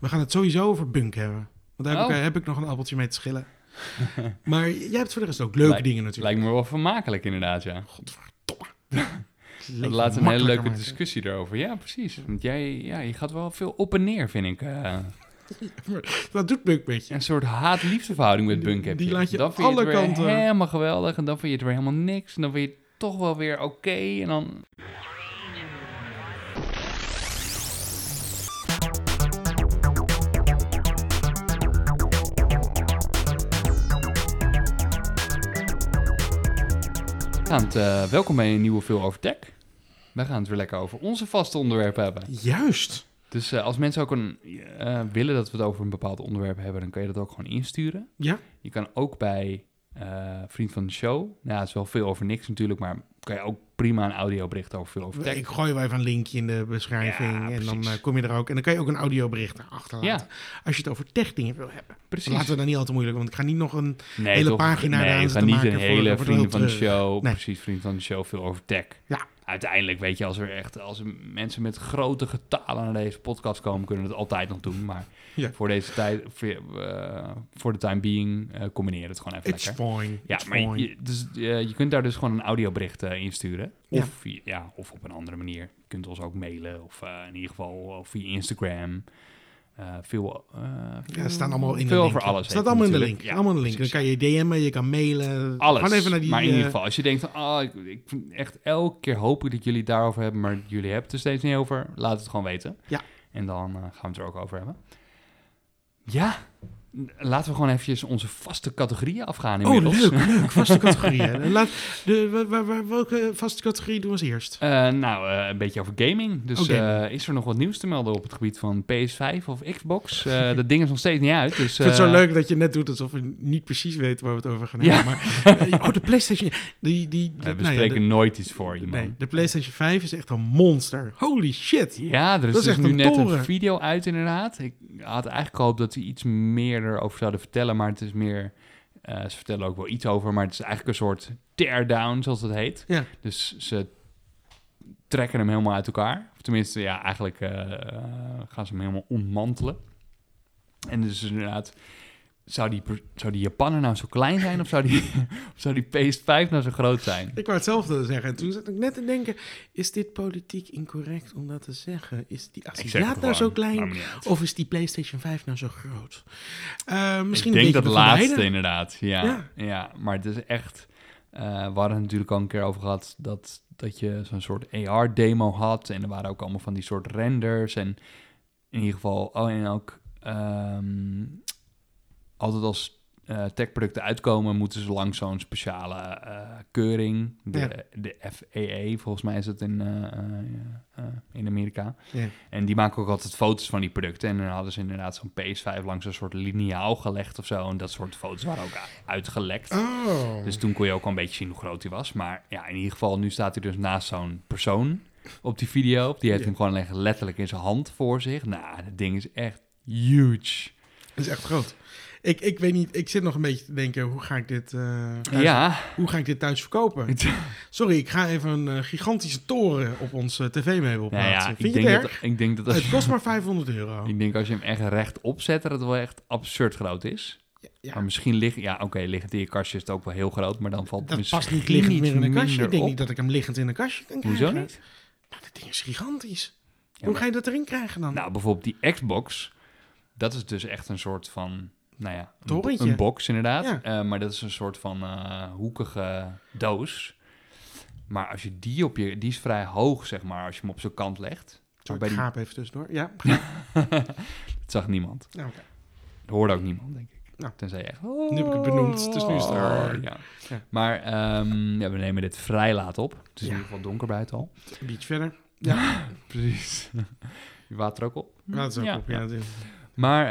We gaan het sowieso over Bunk hebben. Want daar heb, Oh. ik, heb ik nog een appeltje mee te schillen. maar jij hebt voor de rest ook leuke Lijkt- dingen natuurlijk. Lijkt me wel vermakelijk inderdaad, ja. Leven Dat laat een hele makkelijker leuke maken. discussie daarover. Ja, precies. Want jij ja, je gaat wel veel op en neer, vind ik. eh. Dat doet Bunk een beetje. een soort haat-liefdeverhouding met Die- Bunk heb die laat je dan vind je het alle weer kanten. helemaal geweldig. En dan vind je het weer helemaal niks. En dan vind je het toch wel weer oké. en dan... Gaan het, eh, welkom bij een nieuwe Veel Over Tech. Wij gaan het weer lekker over onze vaste onderwerpen hebben. Juist. Dus eh, als mensen ook een, eh, willen dat we het over een bepaald onderwerp hebben, dan kun je dat ook gewoon insturen. Ja. Je kan ook bij eh, Vriend van de Show, nou, ja, het is wel veel over niks natuurlijk, maar kan je ook prima een audiobericht over veel over tech. Ik gooi wel even een linkje in de beschrijving. Ja, en dan precies. eh, kom je er ook. En dan kan je ook een audiobericht achterlaten. Ja, Als je het over techdingen wil hebben. precies. Laten we dat niet al te moeilijk. Want ik ga niet nog een nee, hele toch? pagina nee, eraan we zitten gaan niet maken een voor- dat hele wordt heel Vriend van de treurig. Show, Nee. precies, Vriend van de Show, veel over tech. Ja. Uiteindelijk weet je, als er echt als er mensen met grote getalen naar deze podcast komen, kunnen we het altijd nog doen. Maar Ja. voor deze tijd, voor, eh, voor de time being, eh, combineer het gewoon even It's lekker. fine. Ja, it's maar fine. je, dus, eh, je kunt daar dus gewoon een audiobericht eh, insturen. Ja. Of, via- ja, of op een andere manier. Je kunt ons ook mailen. Of eh, in ieder geval of via Instagram. Eh, veel, eh, Ja, veel- er staan allemaal in de Veel link. over alles. staat heet allemaal in de natuurlijk. link. Ja, allemaal in de link. Dan precies. kan je DM'en, je kan mailen. Alles. Gewoon even naar die... maar in ieder eh, geval, als je denkt van... ah, ik, ik vind echt elke keer hoop ik dat jullie het daarover hebben... maar jullie hebben het er steeds niet over. Laat het gewoon weten. Ja. En dan eh, gaan we het er ook over hebben. Ja, laten we gewoon eventjes onze vaste categorieën afgaan Oh, inmiddels. leuk, leuk. Vaste categorieën. Laat, de, wa- wa- wa- welke vaste categorie doen we als eerst? Eh, nou, eh, een beetje over gaming. Dus Oh, gaming. eh, is er nog wat nieuws te melden op het gebied van PS5 of Xbox? Eh, dat ding is nog steeds niet uit. Dus, Ik vind het eh, zo leuk dat je net doet alsof we niet precies weten waar we het over gaan Ja. hebben. Maar, eh, oh, de PlayStation. Die, die, We nou ja, bespreken nooit iets voor de, iemand. nee, de PlayStation 5 is echt een monster. Holy shit. Ja, er is, Dat is dus echt nu een net toren. een video uit inderdaad. Ik had eigenlijk gehoopt dat ze iets meer erover zouden vertellen, maar het is meer... eh, ze vertellen ook wel iets over, maar het is eigenlijk een soort teardown, zoals dat heet. Ja. Dus ze trekken hem helemaal uit elkaar. Of tenminste, ja, eigenlijk eh, eh, gaan ze hem helemaal ontmantelen. En dus inderdaad, zou die, per- zou die Japaner nou zo klein zijn of zou die, of zou die PS5 nou zo groot zijn? Ik wou hetzelfde zeggen. En toen zat ik net te denken, is dit politiek incorrect om dat te zeggen? Is die Ik zeg het Aziat nou zo gewoon, klein? maakt me niet uit. Of is die PlayStation 5 nou zo groot? Eh, misschien ik denk een dat beetje van laatste beide. inderdaad. Ja, Ja. ja. maar het is echt. eh, we hadden het natuurlijk al een keer over gehad dat, dat je zo'n soort AR-demo had. En er waren ook allemaal van die soort renders. En in ieder geval, oh, en ook ehm, altijd als eh, techproducten uitkomen, moeten ze langs zo'n speciale eh, keuring. De, de FAA, volgens mij is dat in, eh, eh, eh, in Amerika. Ja. En die maken ook altijd foto's van die producten. En dan hadden ze inderdaad zo'n PS5 langs een soort liniaal gelegd of zo. En dat soort foto's waren ook u- uitgelekt. Oh. Dus toen kon je ook al een beetje zien hoe groot hij was. Maar ja, in ieder geval, nu staat hij dus naast zo'n persoon op die video. Die heeft Ja. hem gewoon echt letterlijk in zijn hand voor zich. Nou, dat ding is echt huge. Dat is echt groot. Ik, ik weet niet, ik zit nog een beetje te denken, hoe ga ik dit, eh, thuis, Ja, hoe ga ik dit thuis verkopen? Sorry, ik ga even een eh, gigantische toren op ons eh, tv-meubel nou plaatsen. ja ik, Vind je denk het dat, erg? ik denk dat als Het je, kost maar 500 euro. ik denk als je hem echt rechtop zet, dat het wel echt absurd groot is. Ja. Maar misschien liggen, ja oké, liggen die in je kastje is het ook wel heel groot, maar dan valt Dat misschien past niet liggend meer in een minder kastje. Ik denk op. niet dat ik hem liggend in een kastje kan krijgen. Hoezo niet? Nou, dat ding is gigantisch. Hoe maar- ga je dat erin krijgen dan? Nou, bijvoorbeeld die Xbox, dat is dus echt een soort van, nou ja, een, bo- Torentje. een box inderdaad. Ja. Eh, maar dat is een soort van eh, hoekige doos. Maar als je die op je, die is vrij hoog zeg maar, als je hem op zijn kant legt. Sorry, bij ik die- gaap even tussendoor. Ja, Dat zag niemand. nou, oké. Dat hoorde ook niemand, denk ik. Nou. Tenzij je echt... Oh. Nu heb ik het benoemd, dus nu is het er. Ja. Ja. Maar ehm, ja, we nemen dit vrij laat op. Het is Ja. in ieder geval donker buiten al. een beetje verder. Ja, Precies. je water ook op? dat is ook op. Ja, dat is- Maar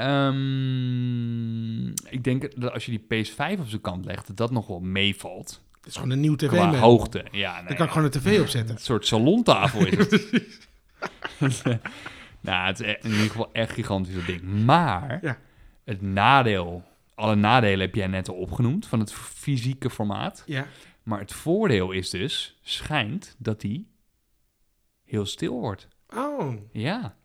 ehm, ik denk dat als je die PS5 op zijn kant legt, dat dat nog wel meevalt. het is gewoon een nieuw tv Qua meubel. hoogte. Ja, nee, Daar kan ik gewoon een tv opzetten. Een soort salontafel is het. nou, het is e- in ieder geval echt gigantisch dat ding. Maar Ja. het nadeel, alle nadelen heb jij net al opgenoemd van het fysieke formaat. Ja. Maar het voordeel is dus, schijnt dat die heel stil wordt. Oh, Ja.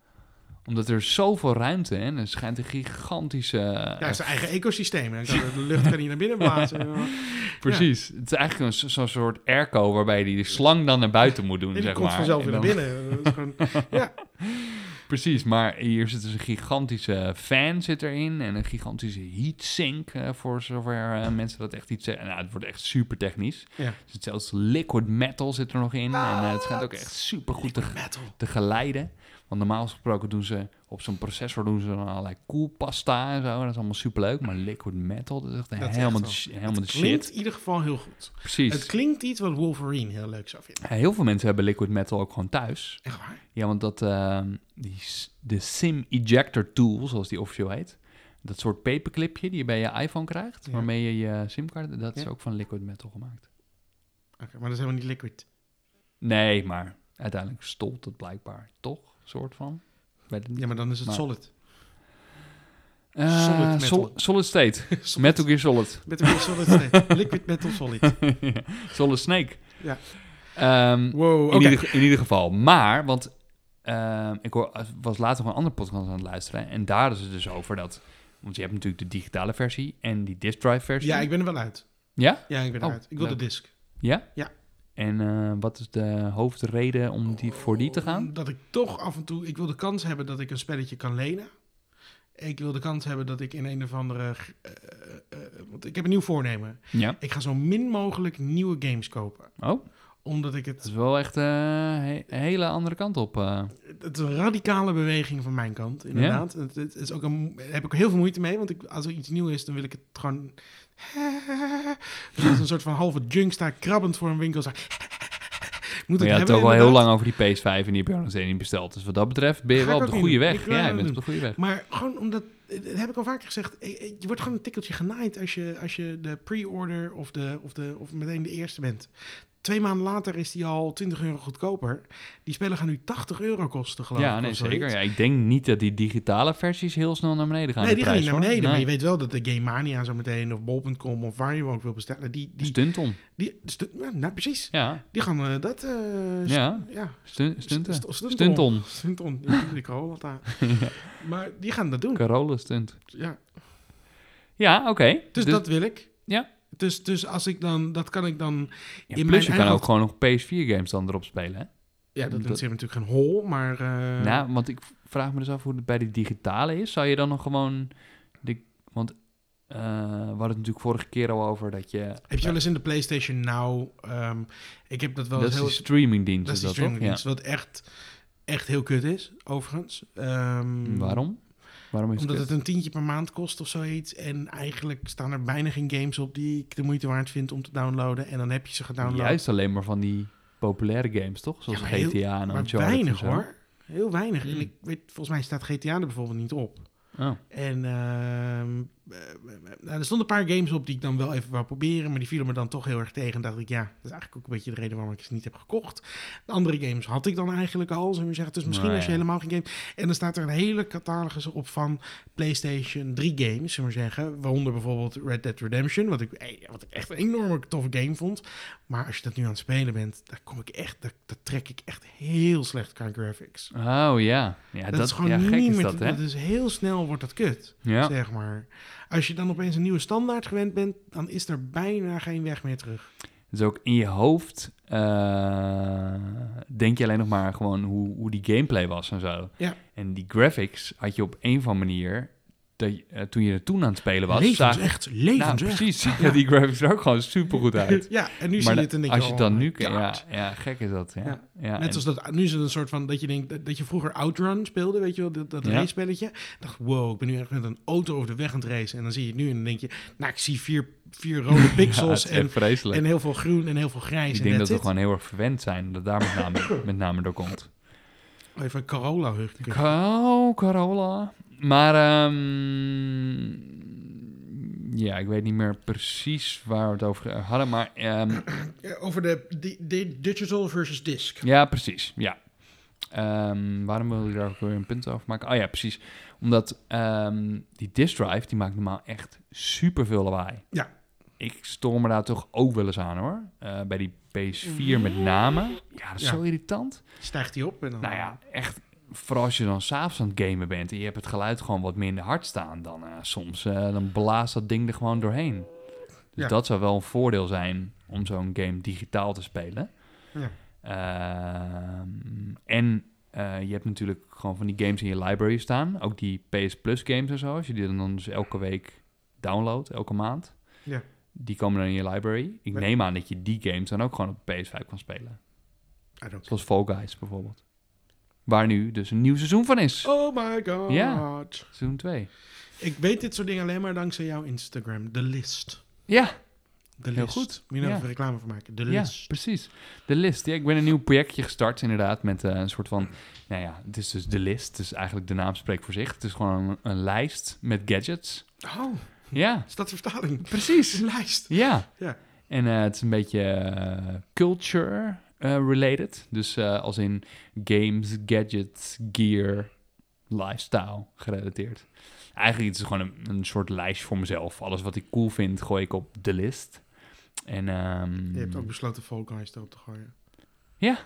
Omdat er zoveel ruimte in, er schijnt een gigantische... eh, Ja, het is een eigen ecosysteem. En de lucht kan niet naar binnen blazen. Precies. Het is eigenlijk een, zo- zo'n soort airco waarbij je die slang dan naar buiten moet doen, En die zeg komt maar. vanzelf En weer naar dan- binnen. Dat is gewoon- Precies, maar hier zit dus een gigantische fan zit erin en een gigantische heatsink eh, voor zover eh, mensen dat echt iets zeggen. Nou, het wordt echt super technisch. Ja. Er zit zelfs liquid metal zit er nog in en eh, het schijnt ook echt super goed te, Metal. te geleiden. Want normaal gesproken doen ze op zo'n processor doen ze dan allerlei koelpasta en zo. Dat is allemaal super leuk, maar liquid metal dat is echt is echt helemaal, wel- de, sh- helemaal de Klinkt shit. in ieder geval heel goed. Precies. Het klinkt iets wat Wolverine heel leuk zou vinden. Ja, Heel veel mensen hebben liquid metal ook gewoon thuis. Echt waar? Ja, want dat, ehm, die, s- de SIM Ejector Tool, zoals die officieel heet. Dat soort paperclipje die je bij je iPhone krijgt, Ja. waarmee je je simkaart... Dat is Ja. ook van liquid metal gemaakt. Oké, maar dat is helemaal niet liquid. Nee, maar uiteindelijk stolt het blijkbaar toch, soort van. Ik Weet het niet. Ja, maar dan is het Maar- solid. Eh, solid metal. sol- solid State. solid. metal Gear Solid. Met een solid state. Liquid metal solid. solid Snake. Ja. Ehm, Wow, oké. in, ieder, in ieder geval. Maar, want ehm, ik hoor, was laatst nog een andere podcast aan het luisteren. En daar is het dus over dat... Want je hebt natuurlijk de digitale versie en die disk drive versie. Ja, ik ben er wel uit. Ja? Ja, ik ben Oh, eruit. Ik wil leuk. de disc. Ja? Ja. En eh, wat is de hoofdreden om die, voor die te gaan? Dat ik toch af en toe... Ik wil de kans hebben dat ik een spelletje kan lenen. Ik wil de kans hebben dat ik in een of andere... eh, eh, eh, want ik heb een nieuw voornemen. Ja. Ik ga zo min mogelijk nieuwe games kopen. Oh, Omdat ik dat het... is wel echt eh, he- een hele andere kant op. eh. Het is een radicale beweging van mijn kant, inderdaad. Het, het is ook een, daar heb ik heel veel moeite mee. Want ik, als er iets nieuw is, dan wil ik het gewoon... Dus als een soort van halve junk sta ik krabbend voor een winkel. Zo, moet ik Maar je had het hebben, ook al heel inderdaad. lang over die PS5 en die heb je ook nog steeds niet besteld. Dus wat dat betreft ben je Ga wel ik op de ook goede niet doen. weg. Ik wil Ja, dat je bent op doen. de goede weg. Maar gewoon omdat, dat heb ik al vaker gezegd, eh, eh, je wordt gewoon een tikkeltje genaaid als je, als je de pre-order of, de, of, de, of meteen de eerste bent. Twee maanden later is die al 20 euro goedkoper. Die spellen gaan nu 80 euro kosten, geloof ik. Ja, nee, of zoiets. zeker. Ja, ik denk niet dat die digitale versies heel snel naar beneden gaan. nee, die gaan niet prijs, naar hoor. beneden. Maar Nee. je weet wel dat de Game Mania zo meteen, of bol.com, of waar je hem ook wil bestellen, die... die, Stunt om. die, stu- ja, nou, precies. Ja, Die gaan eh, dat... eh, st- ja. ja. Stu- stunten. St- st- stunton. Stunton. Stunton. Ja, die Corolla. Maar die gaan dat doen. Carola stunt. Ja. Ja, oké. Dus, dat wil ik. Ja. Dus, dus als ik dan, dat kan ik dan. Ja, in mijn plus je kan eigen- ook gewoon nog PS4-games dan erop spelen, hè? Ja, dat Dat- interesseert me natuurlijk geen hol, maar. eh, Nou, want ik vraag me dus af hoe het bij die digitale is. Zou je dan nog gewoon... De, want eh, we hadden het natuurlijk vorige keer al over dat je... Heb je wel eens in de PlayStation Now? ehm, ik heb dat wel dat eens is heel. die streamingdienst, dat is die toch? streamingdienst, wat echt, echt heel kut is, overigens. Ehm, Ja. Waarom? Waarom is Omdat het... het een tientje per maand kost of zoiets. En eigenlijk staan er bijna geen games op die ik de moeite waard vind om te downloaden. En dan heb je ze kut? gedownload. Juist alleen maar van die populaire games, toch? Zoals Ja, maar heel- GTA en maar Uncharted en weinig zo. hoor. Heel weinig. En Mm. ik weet, volgens mij staat GTA er bijvoorbeeld niet op. Oh, En ehm, eh, nou, er stonden een paar games op die ik dan wel even wou proberen, maar die vielen me dan toch heel erg tegen. En dacht ik, ja, dat is eigenlijk ook een beetje de reden waarom ik ze niet heb gekocht. De andere games had ik dan eigenlijk al, zou je zeggen. Dus misschien Nou als je ja. helemaal geen game... En dan staat er een hele catalogus op van PlayStation 3 games, zullen we zeggen. Waaronder bijvoorbeeld Red Dead Redemption, wat ik, eh, wat ik echt een enorme toffe game vond. Maar als je dat nu aan het spelen bent, daar kom ik echt, daar, daar trek ik echt heel slecht qua graphics. oh ja. ja dat, dat, is gewoon ja, gek niet is meer... dat, te- hè? dat is heel snel wordt dat kut ja. zeg maar. Als je dan opeens een nieuwe standaard gewend bent, dan is er bijna geen weg meer terug. Dus ook in je hoofd eh, denk je alleen nog maar gewoon hoe, hoe die gameplay was en zo. Ja. En die graphics had je op een van manier, dat je, eh, toen je er toen aan het spelen was, zagen- levensrecht, nou, levensrecht. precies, zagen die graphics er ook gewoon supergoed uit. ja, en nu maar zie je het en denk als je oh het dan my nu... kan- Ja, God. ja, gek is dat. Ja. Ja. Ja. Net en- als dat, nu is het een soort van, dat je denkt, dat, dat je vroeger Outrun speelde, weet je wel, dat, dat Ja. race-spelletje. Ik dacht, wow, ik ben nu echt met een auto over de weg aan het racen. En dan zie je het nu en dan denk je, nou, ik zie vier, vier rode ja, het pixels is en, echt vreselijk. en heel veel groen en heel veel grijs. ik en denk dat we that's it. gewoon heel erg verwend zijn dat daar met name, met name door komt. Even een Corolla-hug. Oh, Carola. Maar ehm, ja, ik weet niet meer precies waar we het over hadden, maar ehm, Over de, di- di- digital versus disc. ja, precies. Ja. Ehm, waarom wil je daar ook weer een punt over maken? Oh ja, precies. Omdat ehm, die disk drive, die maakt normaal echt super veel lawaai. Ja. Ik stoor me daar toch ook wel eens aan hoor. Eh, bij die PS4 met name. Ja, dat is Ja. zo irritant. Stijgt die op en dan... Nou ja, echt vooral als je dan s'avonds aan het gamen bent en je hebt het geluid gewoon wat minder hard staan dan eh, soms, eh, dan blaast dat ding er gewoon doorheen. Dus Ja. dat zou wel een voordeel zijn om zo'n game digitaal te spelen. Ja. Ehm, en eh, je hebt natuurlijk gewoon van die games in je library staan, ook die PS Plus games en zo, als je die dan- dan dus elke week downloadt, elke maand. Ja. Die komen dan in je library. Ik Maar- neem aan dat je die games dan ook gewoon op de PS5 kan spelen. I don't Zoals Fall Guys bijvoorbeeld. Waar nu dus een nieuw seizoen van is. Oh my god. Ja. Seizoen 2. Ik weet dit soort dingen alleen maar dankzij jouw Instagram. De list. Ja, De Heel list. goed. Moet je nou Ja. even reclame voor maken. De ja, list. precies. De List. Ja, ik ben een nieuw projectje gestart inderdaad met eh, een soort van... Nou ja, het is dus De List. Dus eigenlijk de naam spreekt voor zich. Het is gewoon een, een lijst met gadgets. Oh, Ja, is dat de vertaling? precies. De lijst. Ja. Ja. En eh, het is een beetje eh, culture eh, related. Dus eh, als in games, gadgets, gear, lifestyle gerelateerd. Eigenlijk is het gewoon een, een soort lijst voor mezelf. Alles wat ik cool vind, gooi ik op de list. En ehm Je hebt ook besloten Fall Guys erop te gooien. heb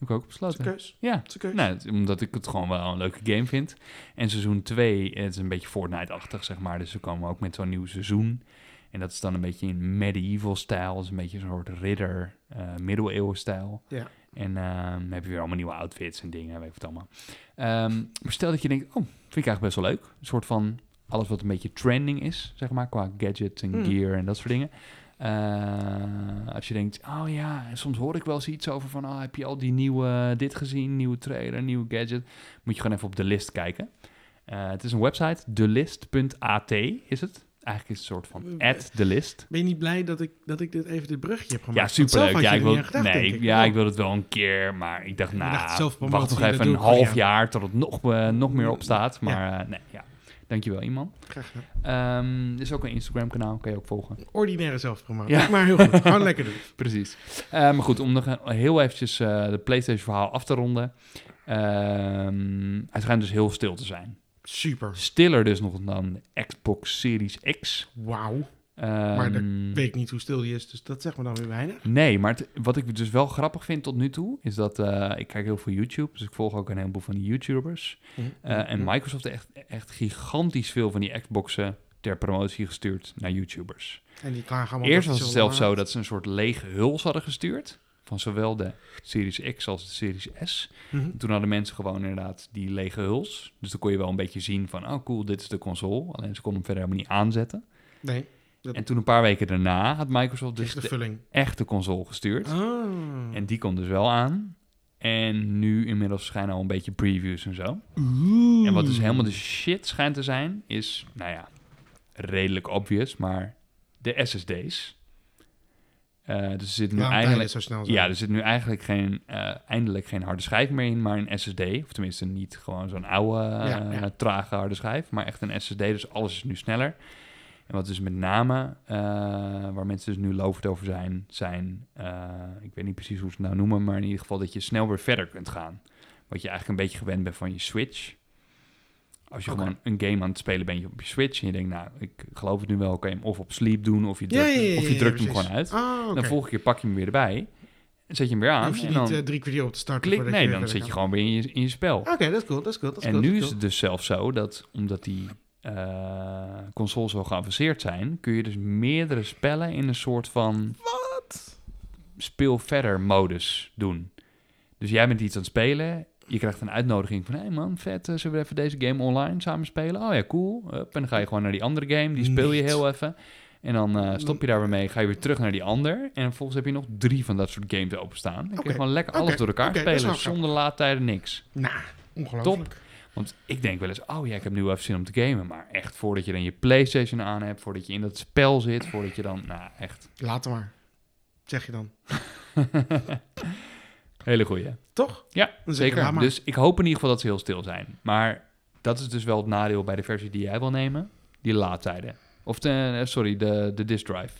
ik Dat is ook een besloten. keus. Ja. Dat is een keus. Nou, het- omdat ik het gewoon wel een leuke game vind. En seizoen 2, het is een beetje Fortnite-achtig, zeg maar. Dus ze komen ook met zo'n nieuw seizoen. En dat is dan een beetje in medieval-stijl. Dus een beetje een soort ridder, eh middeleeuwen-stijl. Ja. En ehm, dan heb je weer allemaal nieuwe outfits en dingen, weet ik wat allemaal. Ehm, maar stel dat je denkt, oh, vind ik eigenlijk best wel leuk. Een soort van alles wat een beetje trending is, zeg maar, qua gadgets en Hmm. gear en dat soort dingen. Eh, als je denkt, oh ja, en soms hoor ik wel eens iets over van, oh, heb je al die nieuwe, dit gezien, nieuwe trailer, nieuwe gadget. Moet je gewoon even op de list kijken. Eh, het is een website, delist.at is het. Eigenlijk is het een soort van Eh, at the list. Ben je niet blij dat ik, dat ik dit even dit brugje heb Ja, gemaakt? Want zelf superleuk. had Ja, je ik er wil, niet aan gedacht, nee, denk ik. ja, Oh, ik wilde het wel een keer, maar ik dacht, Je nou, dacht zelfpromotie, wacht nog dat even doe een ik gewoon, half ja. jaar tot het nog, eh, nog meer op staat. Ja. Maar eh, nee, ja. Dankjewel, iemand. Graag gedaan. Ehm er is ook een Instagram-kanaal, kan je ook volgen. Ordinaire zelfpromotie. Ja. Maar heel goed. Gewoon lekker doen. Precies. Eh, maar goed, om nog een- heel eventjes eh, de PlayStation-verhaal af te ronden. Ehm, hij schijnt dus heel stil te zijn. Super. Stiller dus nog dan de Xbox Series X. Wauw. Ehm, dat Ik weet niet hoe stil die is, dus dat zegt me dan weer weinig. Nee, maar het- wat ik dus wel grappig vind tot nu toe, is dat eh, ik kijk heel veel YouTube, dus ik volg ook een heleboel van die YouTubers. Mm. Mm-hmm. Eh, en Microsoft heeft echt, echt gigantisch veel van die Xboxen ter promotie gestuurd naar YouTubers. En die klagen allemaal. Eerst dat ze was het zo zelfs zo laat- dat ze een soort lege huls hadden gestuurd. Van zowel de Series X als de Series S. Mhm. Toen hadden mensen gewoon inderdaad die lege huls. Dus dan kon je wel een beetje zien van, oh cool, dit is de console. Alleen ze konden hem verder helemaal niet aanzetten. Nee, En toen een paar weken daarna had Microsoft dus tegen de de vulling. echte console gestuurd. Ah. En die komt dus wel aan. En nu inmiddels schijnen al een beetje previews en zo. Oh. En wat dus helemaal de shit schijnt te zijn, is, nou ja, redelijk obvious, maar de SSD's. Eh, dus er zit nu Ja, eigenlijk. eigenlijk zo snel zijn. Ja, er zit nu eigenlijk geen, eh, eindelijk geen harde schijf meer in, maar een SSD. Of tenminste niet gewoon zo'n oude, Ja, eh, ja. trage harde schijf, maar echt een SSD. Dus alles is nu sneller. En wat dus met name, eh, waar mensen dus nu lovend over zijn, zijn, eh, ik weet niet precies hoe ze het nou noemen, maar in ieder geval dat je snel weer verder kunt gaan. Wat je eigenlijk een beetje gewend bent van je Switch. Als je Oké. gewoon een game aan het spelen bent je op je Switch en je denkt, nou, ik geloof het nu wel, kan je hem of op sleep doen of je Ja, drukt, ja, ja, of je ja, drukt hem precies. gewoon uit. Ah, oké. Dan volgende keer pak je hem weer erbij. En zet je hem weer Dan aan. hoef je En niet dan eh, drie kwartier op te starten. klik. voordat Nee, weer dan verder zit je kan. gewoon weer in je, in je spel. Oké, dat is cool, dat is cool. dat is En cool, dat nu is is het dus zelfs zo dat omdat die eh, consoles zo geavanceerd zijn, kun je dus meerdere spellen in een soort van. Wat? Speel verder modus doen. Dus jij bent iets aan het spelen. Je krijgt een uitnodiging van: hé hey man, vet, eh, zullen we even deze game online samen spelen? Oh ja, cool. Hup, en dan ga je gewoon naar die andere game. Die speel je Niet. Mm. heel even. En dan eh, stop je daar weer mee, ga je weer terug naar die ander. En vervolgens heb je nog drie van dat soort games openstaan. Dan kun Oké, je gewoon lekker oké, alles door elkaar oké, dat is spelen, wel grappig. zonder laadtijden, niks. cool. Nou, ongelooflijk. Want ik denk wel eens, oh ja, ik heb nu wel even zin om te gamen. Maar echt, voordat je dan je PlayStation aan hebt, voordat je in dat spel zit, voordat je dan, nou echt, Later maar. Zeg je dan. hele goeie. Toch? Ja, Dan zeg je, Zeker. laat maar. Dus ik hoop in ieder geval dat ze heel stil zijn. Maar dat is dus wel het nadeel bij de versie die jij wil nemen, die laadtijden. Of de, eh, sorry, de, de disk drive.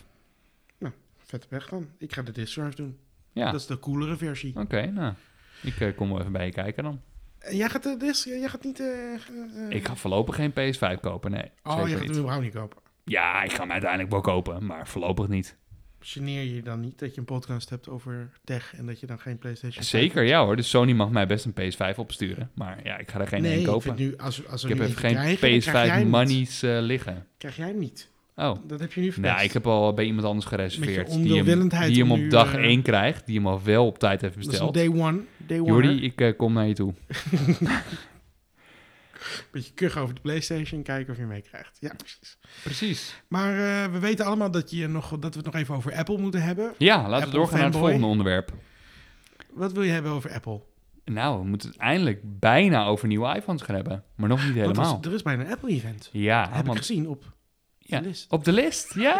Vet weg dan. Ik ga de disk drive doen. Ja, Dat is de coolere versie. oké, nou. Ik eh, kom wel even bij je kijken dan. En jij gaat de disk, jij gaat niet... eh, eh, Ik ga voorlopig geen PS5 kopen, nee. Oh, zeker je gaat niet. hem überhaupt niet kopen. Ja, ik ga hem uiteindelijk wel kopen, maar voorlopig niet. Geneer je dan niet dat je een podcast hebt over tech en dat je dan geen PlayStation 5 Zeker, hebt? ja hoor. Dus Sony mag mij best een PS5 opsturen. Maar ja, ik ga er geen nee, één ik kopen. vind nu, als, als we Ik heb nu even eentje geen krijgen, dan krijg jij PS5 hem niet. money's eh, liggen. Krijg jij hem niet. Oh. Dat heb je nu verpest. Nou, ik heb al bij iemand anders gereserveerd. Die hem, onwillendheid die hem om op nu, dag eh, 1 krijgt. Die hem al wel op tijd heeft Dat is een besteld. day one. Day one Jordi, hè? ik eh, kom naar je toe. Beetje kuchen over de PlayStation. Kijken of je hem meekrijgt. Ja, precies. Precies. Maar eh, we weten allemaal dat, je nog, dat we het nog even over Apple moeten hebben. Ja, laten Apple we doorgaan naar het fanboy. volgende onderwerp. Wat wil je hebben over Apple? Nou, we moeten het eindelijk bijna over nieuwe iPhones gaan hebben. Maar nog niet Want helemaal. er is- er is bijna een Apple-event. Ja, heb ik want gezien op Ja. de list. Op de list, ja.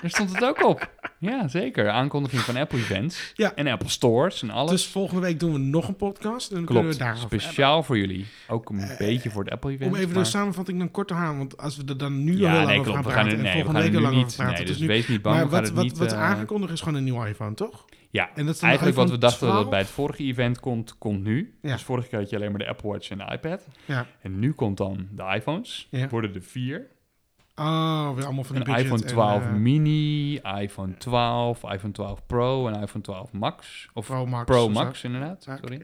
Daar stond het ook op. Ja, zeker. Aankondiging van Apple Events Ja. en Apple Stores en alles. Dus volgende week doen we nog een podcast. En dan kunnen Klopt, we daarover hebben. Eh, speciaal voor jullie. Ook een beetje voor het Apple Event. Om even maar- de samenvatting dan kort te halen. Want als we er dan nu al Ja, heel nee, lang over klopt. gaan We gaan praten... er, en nee, we volgende gaan er week heel nu lang over niet. praten. Nee, dus dus nu, wees niet bang. maar we gaan wat, het wat, niet, wat eh, aangekondigd is gewoon een nieuwe iPhone, toch? Ja, En dat is dan de eigenlijk wat we iPhone dachten dat 12? het bij het vorige event komt, komt nu. Ja. Dus vorige keer had je alleen maar de Apple Watch en de iPad. Ja. En nu komt dan de iPhones. Ja. Worden er vier. Oh, weer allemaal van die Een budget. iPhone en, 12 eh, mini, iPhone 12, iPhone 12 Pro en iPhone 12 Max. Of Pro Max. Pro of zo. Max, inderdaad. Ja. Sorry.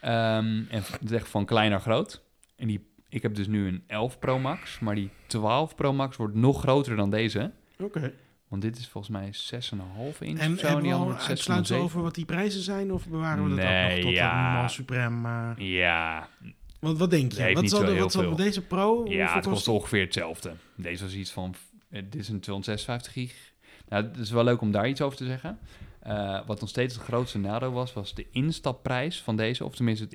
Ehm, en v- het is echt van klein naar groot. En die, ik heb dus nu een 11 Pro Max, maar die 12 Pro Max wordt nog groter dan deze. Oké. Want dit is volgens mij 6,5 inch En of zo. En hebben die we andere al wordt uitsluitsel 6,7. over wat die prijzen zijn? Of bewaren we dat ook Nee, nog tot ja. een man suprem? eh, Ja, want wat denk je? Nee, heeft wat niet zal, zo de, heel wat zal veel. deze pro? ja hoeveel het kost kosten? ongeveer hetzelfde. Deze was iets van... eh, Dit is een 256 gig. Nou, het is wel leuk om daar iets over te zeggen. Eh, wat nog steeds het grootste nadeel was, was de instapprijs van deze. Of tenminste het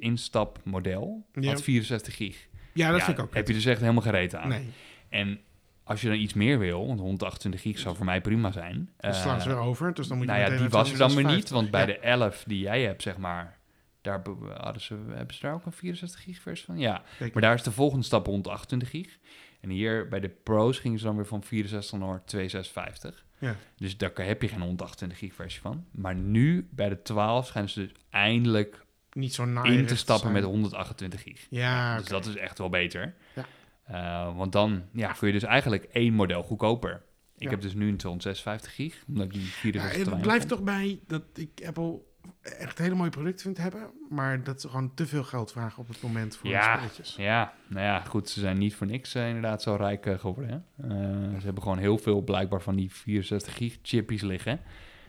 instapmodel. Ja. Had 64 gig. Ja, dat Ja, vind ik ook. Heb je dus echt helemaal gereed aan. Nee, dus En als je dan iets meer wil, want 128 gig zou voor mij prima zijn. dan eh, slaan ze weer over. Dus dan moet je nou ja, meteen die even was er dan weer 56. niet, want Ja. bij de 11 die jij hebt, zeg maar, daar be- hadden ze, hebben ze daar ook een 64 gig versie van? Ja, Kijk, maar daar is de volgende stap rond 28 gig. En hier bij de pro's gingen ze dan weer van 64 naar 256. Ja. Dus daar heb je geen 128 gig versie van. Maar nu, bij de 12, schijnen ze dus eindelijk niet zo naar in te stappen met 128 gig. Ja, Dus Ah, oké. dat is echt wel beter. Ja. Eh, want dan ja, kun je dus eigenlijk één model goedkoper. Ik Ja. heb dus nu een 256 gig, omdat ik die Ja, 64 te het weinig blijft vond. eh, toch bij dat ik Apple echt hele mooie producten vind hebben, maar dat ze gewoon te veel geld vragen op het moment voor Ja. de spelletjes. Ja, nou ja, goed, ze zijn niet voor niks eh, inderdaad zo rijk eh, geworden. Hè? Eh, ze hebben gewoon heel veel blijkbaar van die 64 gig chippies liggen.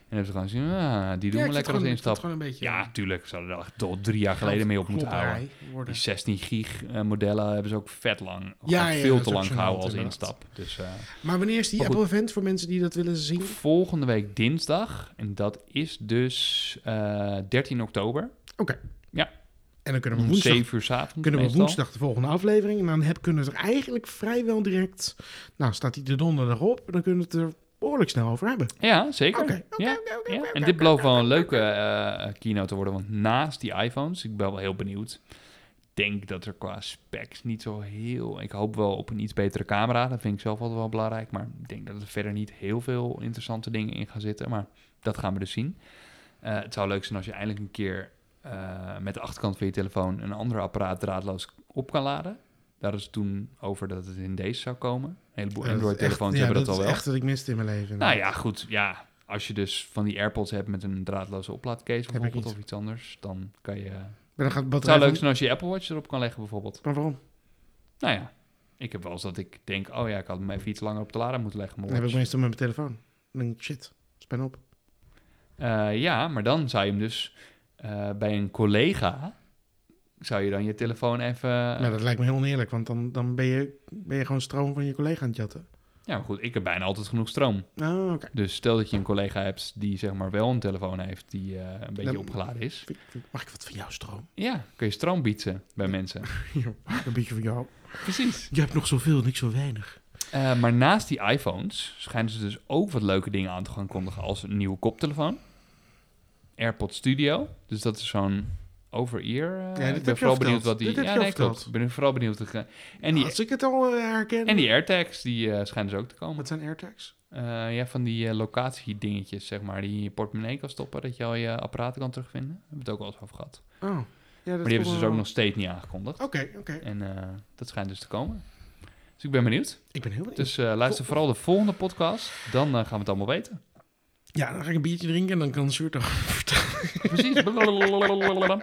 En dan hebben ze gewoon gezien, ah, die doen Ja, we ik vind het lekker gewoon- als ik vind het instap. gewoon een beetje Ja, tuurlijk, ze hadden er echt tot drie jaar geleden mee op moeten Klopperij houden. worden. Die 16 gig eh, modellen hebben ze ook vet lang, Ja, ja, veel dat te is ook lang gehouden gênant, als inderdaad. instap. Dus, eh, Maar wanneer is die Maar goed. Apple event voor mensen die dat willen zien? Oké. Volgende week dinsdag. En dat is dus eh 13 oktober. Ja. En dan kunnen we Om woensdag 7 uur 's avonds. kunnen we meestal. woensdag de volgende aflevering. En dan heb, kunnen we het er eigenlijk vrijwel direct. Nou, staat die de donderdag op. Dan kunnen we het er behoorlijk snel over hebben. Ja, zeker. Oké, oké, ja. oké, oké, ja. oké, En oké. dit belooft wel een leuke eh, keynote te worden. Want naast die iPhones, ik ben wel heel benieuwd. Ik denk dat er qua specs niet zo heel... Ik hoop wel op een iets betere camera. Dat vind ik zelf altijd wel belangrijk. Maar ik denk dat er verder niet heel veel interessante dingen in gaan zitten. Maar dat gaan we dus zien. Eh, het zou leuk zijn als je eindelijk een keer eh, met de achterkant van je telefoon... een ander apparaat draadloos op kan laden. Daar is toen over dat het in deze zou komen. Een heleboel Ja, dat is Android-telefoons echt- ja, hebben dat, al is wel. echt wat ik miste in mijn leven. Nou ja, goed. Ja, als je dus van die AirPods hebt met een draadloze oplaadcase bijvoorbeeld niet. of iets anders, dan kan je. Maar dan gaat de Het zou batterij leuk van- zijn als je je Apple Watch erop kan leggen bijvoorbeeld. Maar waarom? Nou ja, ik heb wel eens dat ik denk, oh ja, ik had hem even iets langer op de lader moeten leggen. Dan Mijn heb ik watch. meestal met mijn telefoon. Dan denk ik, shit, span op. Eh, ja, maar dan zou je hem dus eh, bij een collega zou je dan je telefoon even. Nou, dat lijkt me heel oneerlijk, want dan, dan ben, je, ben je gewoon stroom van je collega aan het jatten. Ja, maar goed, ik heb bijna altijd genoeg stroom. Oh, oké. Dus stel dat je een collega hebt die zeg maar wel een telefoon heeft die eh, een beetje Dan- opgeladen is. Mag ik wat van jouw stroom? Ja, kun je stroom bieden bij mensen. Een beetje van jou. Precies. Je hebt nog zoveel en ik zo weinig. Eh, maar naast die iPhones schijnen ze dus ook wat leuke dingen aan te gaan kondigen als een nieuwe koptelefoon. AirPod Studio. Dus dat is zo'n over-ear. eh, dit heb ik je ben al vooral benieuwd verteld. wat die. Dit heb ja, je al nee, klopt. verteld. Ik ben vooral benieuwd. wat ik- en, die, Als ik het al eh, herken. en die AirTags, die eh, schijnen ze ook te komen. Wat zijn AirTags? Eh, ja, van die eh, locatiedingetjes, zeg maar, die je in je portemonnee kan stoppen, dat je al je apparaten kan terugvinden. Daar hebben we het ook al eens over gehad. Oh. Ja, dat Maar die hebben ze dus ook nog steeds niet aangekondigd. Oké, oké. En eh, dat schijnt dus te komen. Dus ik ben benieuwd. Ik ben heel benieuwd. Dus eh, luister vooral de volgende podcast. Dan eh, gaan we het allemaal weten. Ja, dan ga ik een biertje drinken en dan kan Sjoerd toch vertellen. Precies. Blablabla.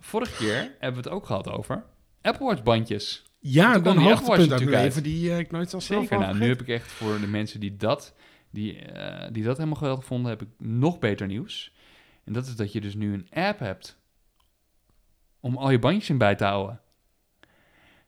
Vorige keer hebben we het ook gehad over Apple Watch bandjes. Ja, Toen kwam dan die Apple Watch hoogtepunt uit natuurlijk mijn leven die eh, ik nooit zal snel Zeker. Nou, nu vergeten. heb ik echt voor de mensen die dat, die, eh, die dat helemaal geweldig vonden, heb ik nog beter nieuws. En dat is dat je dus nu een app hebt om al je bandjes in bij te houden.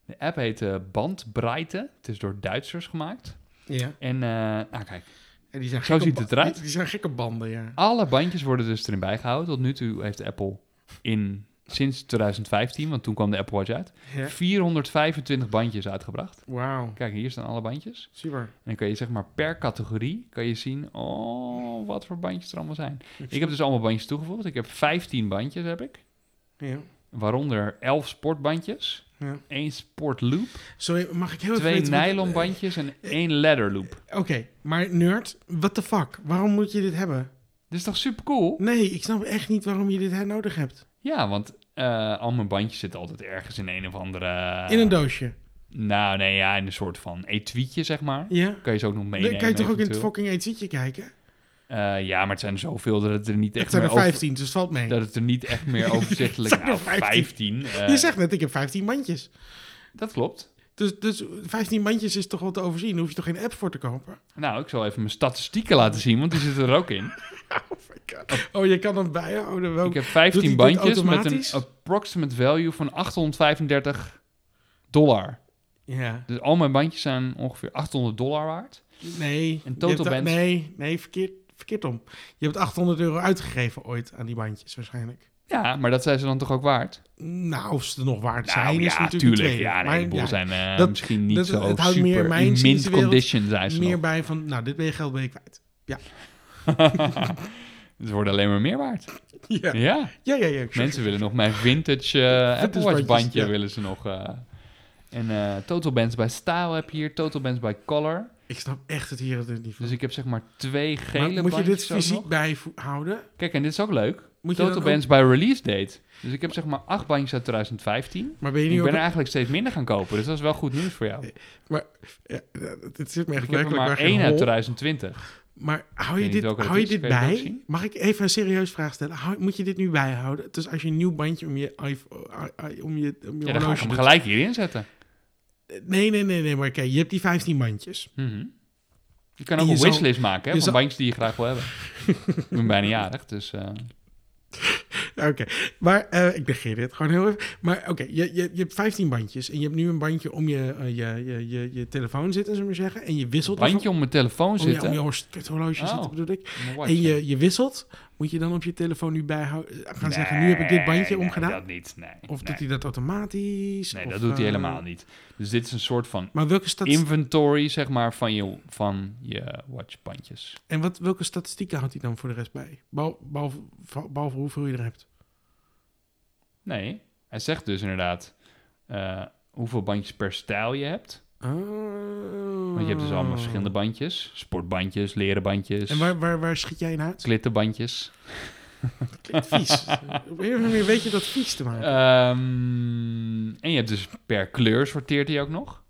De app heet eh, Bandbreite. Het is door Duitsers gemaakt. Ja. En, eh nou kijk, En die zijn Zo gekke ziet het ba- eruit. Ah. Die, die zijn gekke banden, ja. Alle bandjes worden dus erin bijgehouden. Tot nu toe heeft Apple in sinds 2015, want toen kwam de Apple Watch uit, ja. 425 bandjes uitgebracht. Wauw, Kijk, hier staan alle bandjes. super. En dan kan je zeg maar per categorie kan je zien, oh, wat voor bandjes er allemaal zijn. Ik heb dus allemaal bandjes toegevoegd. Ik heb 15 bandjes, heb ik. Ja. Waaronder 11 sportbandjes, Ja. 1 sportloop, Sorry, mag ik heel even 2 weten wat- Eh, nylon bandjes en 1 leather loop. Oké, maar nerd, what the fuck? Waarom moet je dit hebben? Dit is toch super cool? Nee, ik snap echt niet waarom je dit he- nodig hebt. Ja, want eh, al mijn bandjes zitten altijd ergens in een of andere... In een doosje. Nou, nee, ja, in een soort van etuietje, zeg maar. Ja. Kan je ze ook nog meenemen. Dan kan je toch ook in het eventueel. fucking etentje kijken? Eh, ja, maar het zijn er zoveel dat het er niet Het echt zijn meer er over... 15, dus het valt mee. Dat het er niet echt meer overzichtelijk... Het zijn er nou, 15. eh, Je zegt net, ik heb 15 mandjes. Dat klopt. Dus, dus 15 mandjes is toch wel te overzien? Daar hoef je toch geen app voor te kopen? Nou, ik zal even mijn statistieken laten zien, want die zitten er ook in. Oh, je kan hem bijhouden. Wel. Ik heb Oh, Doet 15 hij dit bandjes met een automatisch? approximate value van 835 dollar. Ja. Dus al mijn bandjes zijn ongeveer 800 dollar waard. Nee. je hebt total da- bands- Nee, nee verkeerd, verkeerd om. Je hebt 800 euro uitgegeven ooit aan die bandjes waarschijnlijk. Ja, maar dat zijn ze dan toch ook waard? Nou, of ze er nog waard zijn, is natuurlijk een tweede. Nou Ja, nee, Maar een boel ja, zijn eh, dat- misschien niet dat- zo het houdt super meer in mijn in mint zienswereld condition, zijn ze Meer nog. bij van, nou, dit ben je geld ben je kwijt. Ze worden alleen maar meer waard. Ja, Ja, ja, ja. ja, mensen willen nog mijn vintage eh Apple Watch bandjes, bandje ja. willen ze nog. eh. En eh, Total Bands bij Style heb je hier, Total Bands bij Color. Ik snap echt het hier het niet van. Dus ik heb zeg maar twee gele Maar moet je dit bandjes ook fysiek nog. bijhouden? Kijk, en dit is ook leuk. Moet je Total dan ook- Bands bij release date. Dus ik heb zeg maar acht bandjes uit 2015. Maar ben je Ik nu ben ook... er eigenlijk steeds minder gaan kopen, dus dat is wel goed nieuws voor jou. Ja, eh, dit zit me echt Ik heb er werkelijk waar maar geen één uit hol. 2020. Maar hou Ik je weet niet dit, welke dat hou je is. dit Kan je dat ook bij? zien? Mag ik even een serieus vraag stellen? Hou- moet je dit nu bijhouden? Dus als je een nieuw bandje om je, iPhone- i- i- om je, om je Ja, dan ga ik horloge hem doet- gelijk hierin zetten. Nee, nee, nee, nee. Maar kijk, je hebt die 15 bandjes. Mhm. Je kan En ook je een zal- wishlist maken hè, je van zal- bandjes die je graag wil hebben. ik ben bijna jarig, dus... eh, Oké. Maar eh, ik negeer dit gewoon heel even. Maar oké, je, je, je hebt 15 bandjes. En je hebt nu een bandje om je, eh, je, je, je, je telefoon zitten, zullen we maar zeggen. En je wisselt. bandje om mijn telefoon ervan- om je, zitten. om je hor- het horloge Oh. zitten, bedoel ik. Mijn watch. En je, je wisselt. Moet je dan op je telefoon nu bijhouden? Gaan zeggen, nu heb ik dit bandje Nee, nee, omgedaan. dat niet, nee. Of nee. doet hij dat automatisch? Nee, Of, dat doet hij eh, helemaal niet. Dus dit is een soort van Maar welke, stat inventory, zeg maar, van je, van je watchbandjes. en wat, welke statistieken houdt hij dan voor de rest bij? Behal- Behalve, behalve hoeveel je er hebt. Nee, hij zegt dus inderdaad eh, hoeveel bandjes per stijl je hebt. Oh. Want je hebt dus allemaal verschillende bandjes. Sportbandjes, leren bandjes, En waar, waar, waar schiet jij in uit? klittenbandjes. Klinkt vies. Op een of andere manier weet je dat vies te Eh, maken. Ehm, en je hebt dus per kleur sorteert hij ook nog.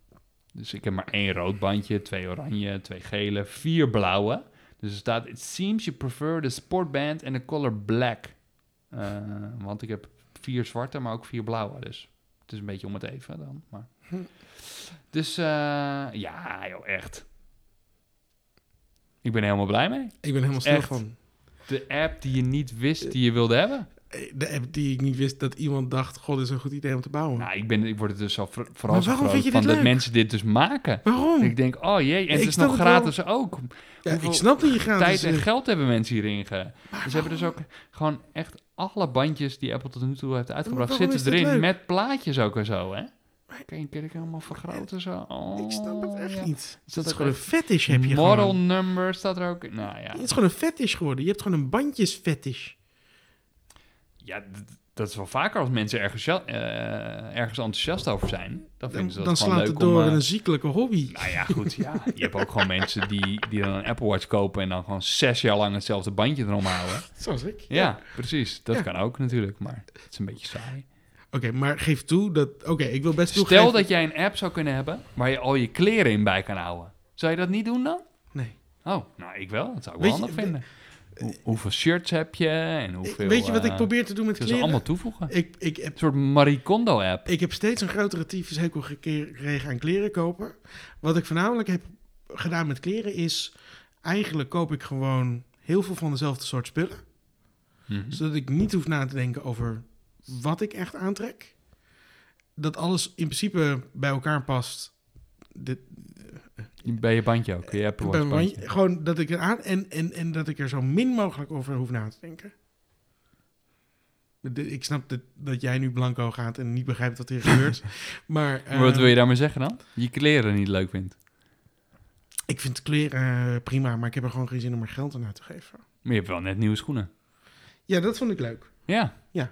Dus ik heb maar één rood bandje, twee oranje, twee gele, vier blauwe. Dus er staat, it seems you prefer the sport band and the color black. Eh, want ik heb vier zwarte, maar ook vier blauwe. Dus het is een beetje om het even dan. Maar. Hm. Dus eh, ja, joh, echt. Ik ben er helemaal blij mee. Ik ben helemaal stil Echt. van. De app die je niet wist die je wilde hebben. eh, De app die ik niet wist dat iemand dacht... God, dit is een goed idee om te bouwen. Nou, ik, ben, ik word er dus al ver, vooral Maar zo waarom groot vind je van dit dat leuk? mensen dit dus maken. Waarom? Ik denk, oh jee, en het Ik is snap nog het wel. gratis ook. Ja, dus, eh, hoeveel ik snap dat je Tijd gratis... en is. geld hebben mensen hierin ge... Ze hebben dus ook gewoon echt alle bandjes die Apple tot nu toe heeft uitgebracht waarom zitten is dit erin. leuk? Met plaatjes ook en zo, hè. Maar- Kan je, kan ik helemaal vergroten zo? Oh, Ik snap het echt ja. niet. Is dat Dat is ook gewoon een echt- fetish heb je Model gewoon. number staat er ook. in. Nou ja, Het is gewoon een fetish geworden. Je hebt gewoon een bandjesfetish. ja d- dat is wel vaker als mensen ergens, eh, ergens enthousiast over zijn. Dan Dan, vinden ze dat dan gewoon slaat leuk het door om, eh, in een ziekelijke hobby. Nou ja, goed, ja. Je hebt ook gewoon mensen die, die dan een Apple Watch kopen en dan gewoon zes jaar lang hetzelfde bandje erom houden. Zoals ik. Ja, precies. Dat Ja. kan ook natuurlijk, maar het is een beetje saai. Oké, maar geef toe dat... Oké, ik wil best toegeven... Stel dat jij een app zou kunnen hebben waar je al je kleren in bij kan houden. Zou je dat niet doen dan? Nee. Oh, nou, ik wel. Dat zou ik Weet wel je, eh, handig vinden. hoe- hoeveel shirts heb je en hoeveel... Weet je wat ik eh, probeer te doen met Ik wil ze kleren? allemaal toevoegen. Ik, ik, heb, Een soort Marie Kondo app. ik heb steeds een grotere tyfushekel geke- gekregen aan kleren kopen. Wat ik voornamelijk heb gedaan met kleren is... Eigenlijk koop ik gewoon heel veel van dezelfde soort spullen. Mhm. Zodat ik niet hoef na te denken over wat ik echt aantrek. Dat alles in principe bij elkaar past. Dit, Bij je bandje ook. Je Apple bij Watch mijn bandje. wandje- gewoon dat ik er aan en, en, en dat ik er zo min mogelijk over hoef na te denken. De- Ik snap dat, dat jij nu blanco gaat en niet begrijpt wat hier gebeurt. maar eh, Maar wat wil je daarmee zeggen dan? Je kleren niet leuk vindt. ik vind kleren eh, prima, maar ik heb er gewoon geen zin om er geld aan uit te geven. Maar je hebt wel net nieuwe schoenen. Ja, dat vond ik leuk. Ja. Ja.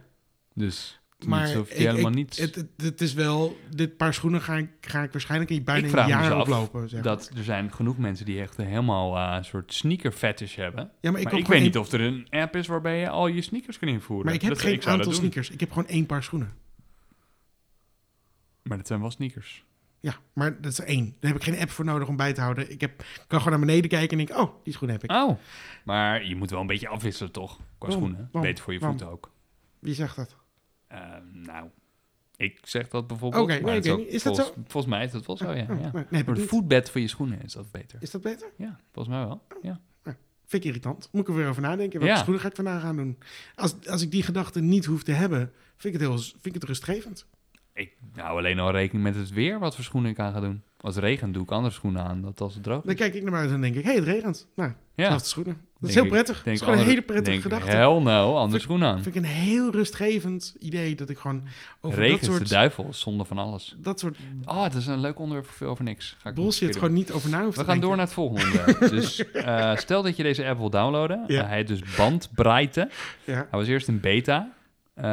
Dus Maar maar niet hoeft ik- je helemaal ik- niets. Het, het, het is wel, dit paar schoenen ga ik, ga ik waarschijnlijk in bijna Ik vraag een me jaar dus af oplopen. Zeg. dat er zijn genoeg mensen die echt een helemaal eh, soort sneaker fetish hebben. ja, maar ik, Maar ik, koop weet gewoon niet één- of er een app is waarbij je al je sneakers kan invoeren. Maar ik heb Dat- geen ik zou dat aantal doen. sneakers. Ik heb gewoon één paar schoenen. Maar dat zijn wel sneakers. Ja, maar dat is één. Daar heb ik geen app voor nodig om bij te houden. Ik heb, kan gewoon naar beneden kijken en denk, oh, die schoen heb ik. Oh. Maar je moet wel een beetje afwisselen toch? Qua Waarom? schoenen. Waarom? Beter voor je Waarom? voeten ook. Wie zegt dat? Eh, nou, ik zeg dat bijvoorbeeld. Oké, maar nee, het oké. ook Is dat volgens, Volgens mij is dat wel zo, ja. Oh, ja. nee, nee, heb Voor ik het niet. voetbed van je schoenen is dat beter. Is dat beter? Ja, volgens mij wel. Ja. Vind ik irritant. Moet ik er weer over nadenken. Welke Ja. schoenen ga ik vandaag aan doen? Als, als ik die gedachte niet hoef te hebben, vind ik het, heel, vind ik het rustgevend. Ik hou alleen al rekening met het weer wat voor schoenen ik aan ga doen. Als het regent doe ik andere schoenen aan dan als het droog is. Dan kijk ik naar buiten en denk ik, hé, hey, het regent. Nou, Ja, zelfde schoenen. Dat Denk is heel ik- prettig. Dat denk is gewoon een andere- hele prettige denk gedachte. Hell no, andere Vind- schoenen aan. Vind ik een heel rustgevend idee dat ik gewoon over Regen dat is de soort, duivel, zonde van alles. dat soort Ah, het is een leuk onderwerp voor veel over niks. Ga ik een bullshit keer doen. gewoon niet over na hoeft We te gaan denken. door naar het volgende onderwerp. dus eh, stel dat je deze app wil downloaden. Ja. Eh, hij heet dus Bandbreite. Ja. Hij was eerst in beta, eh,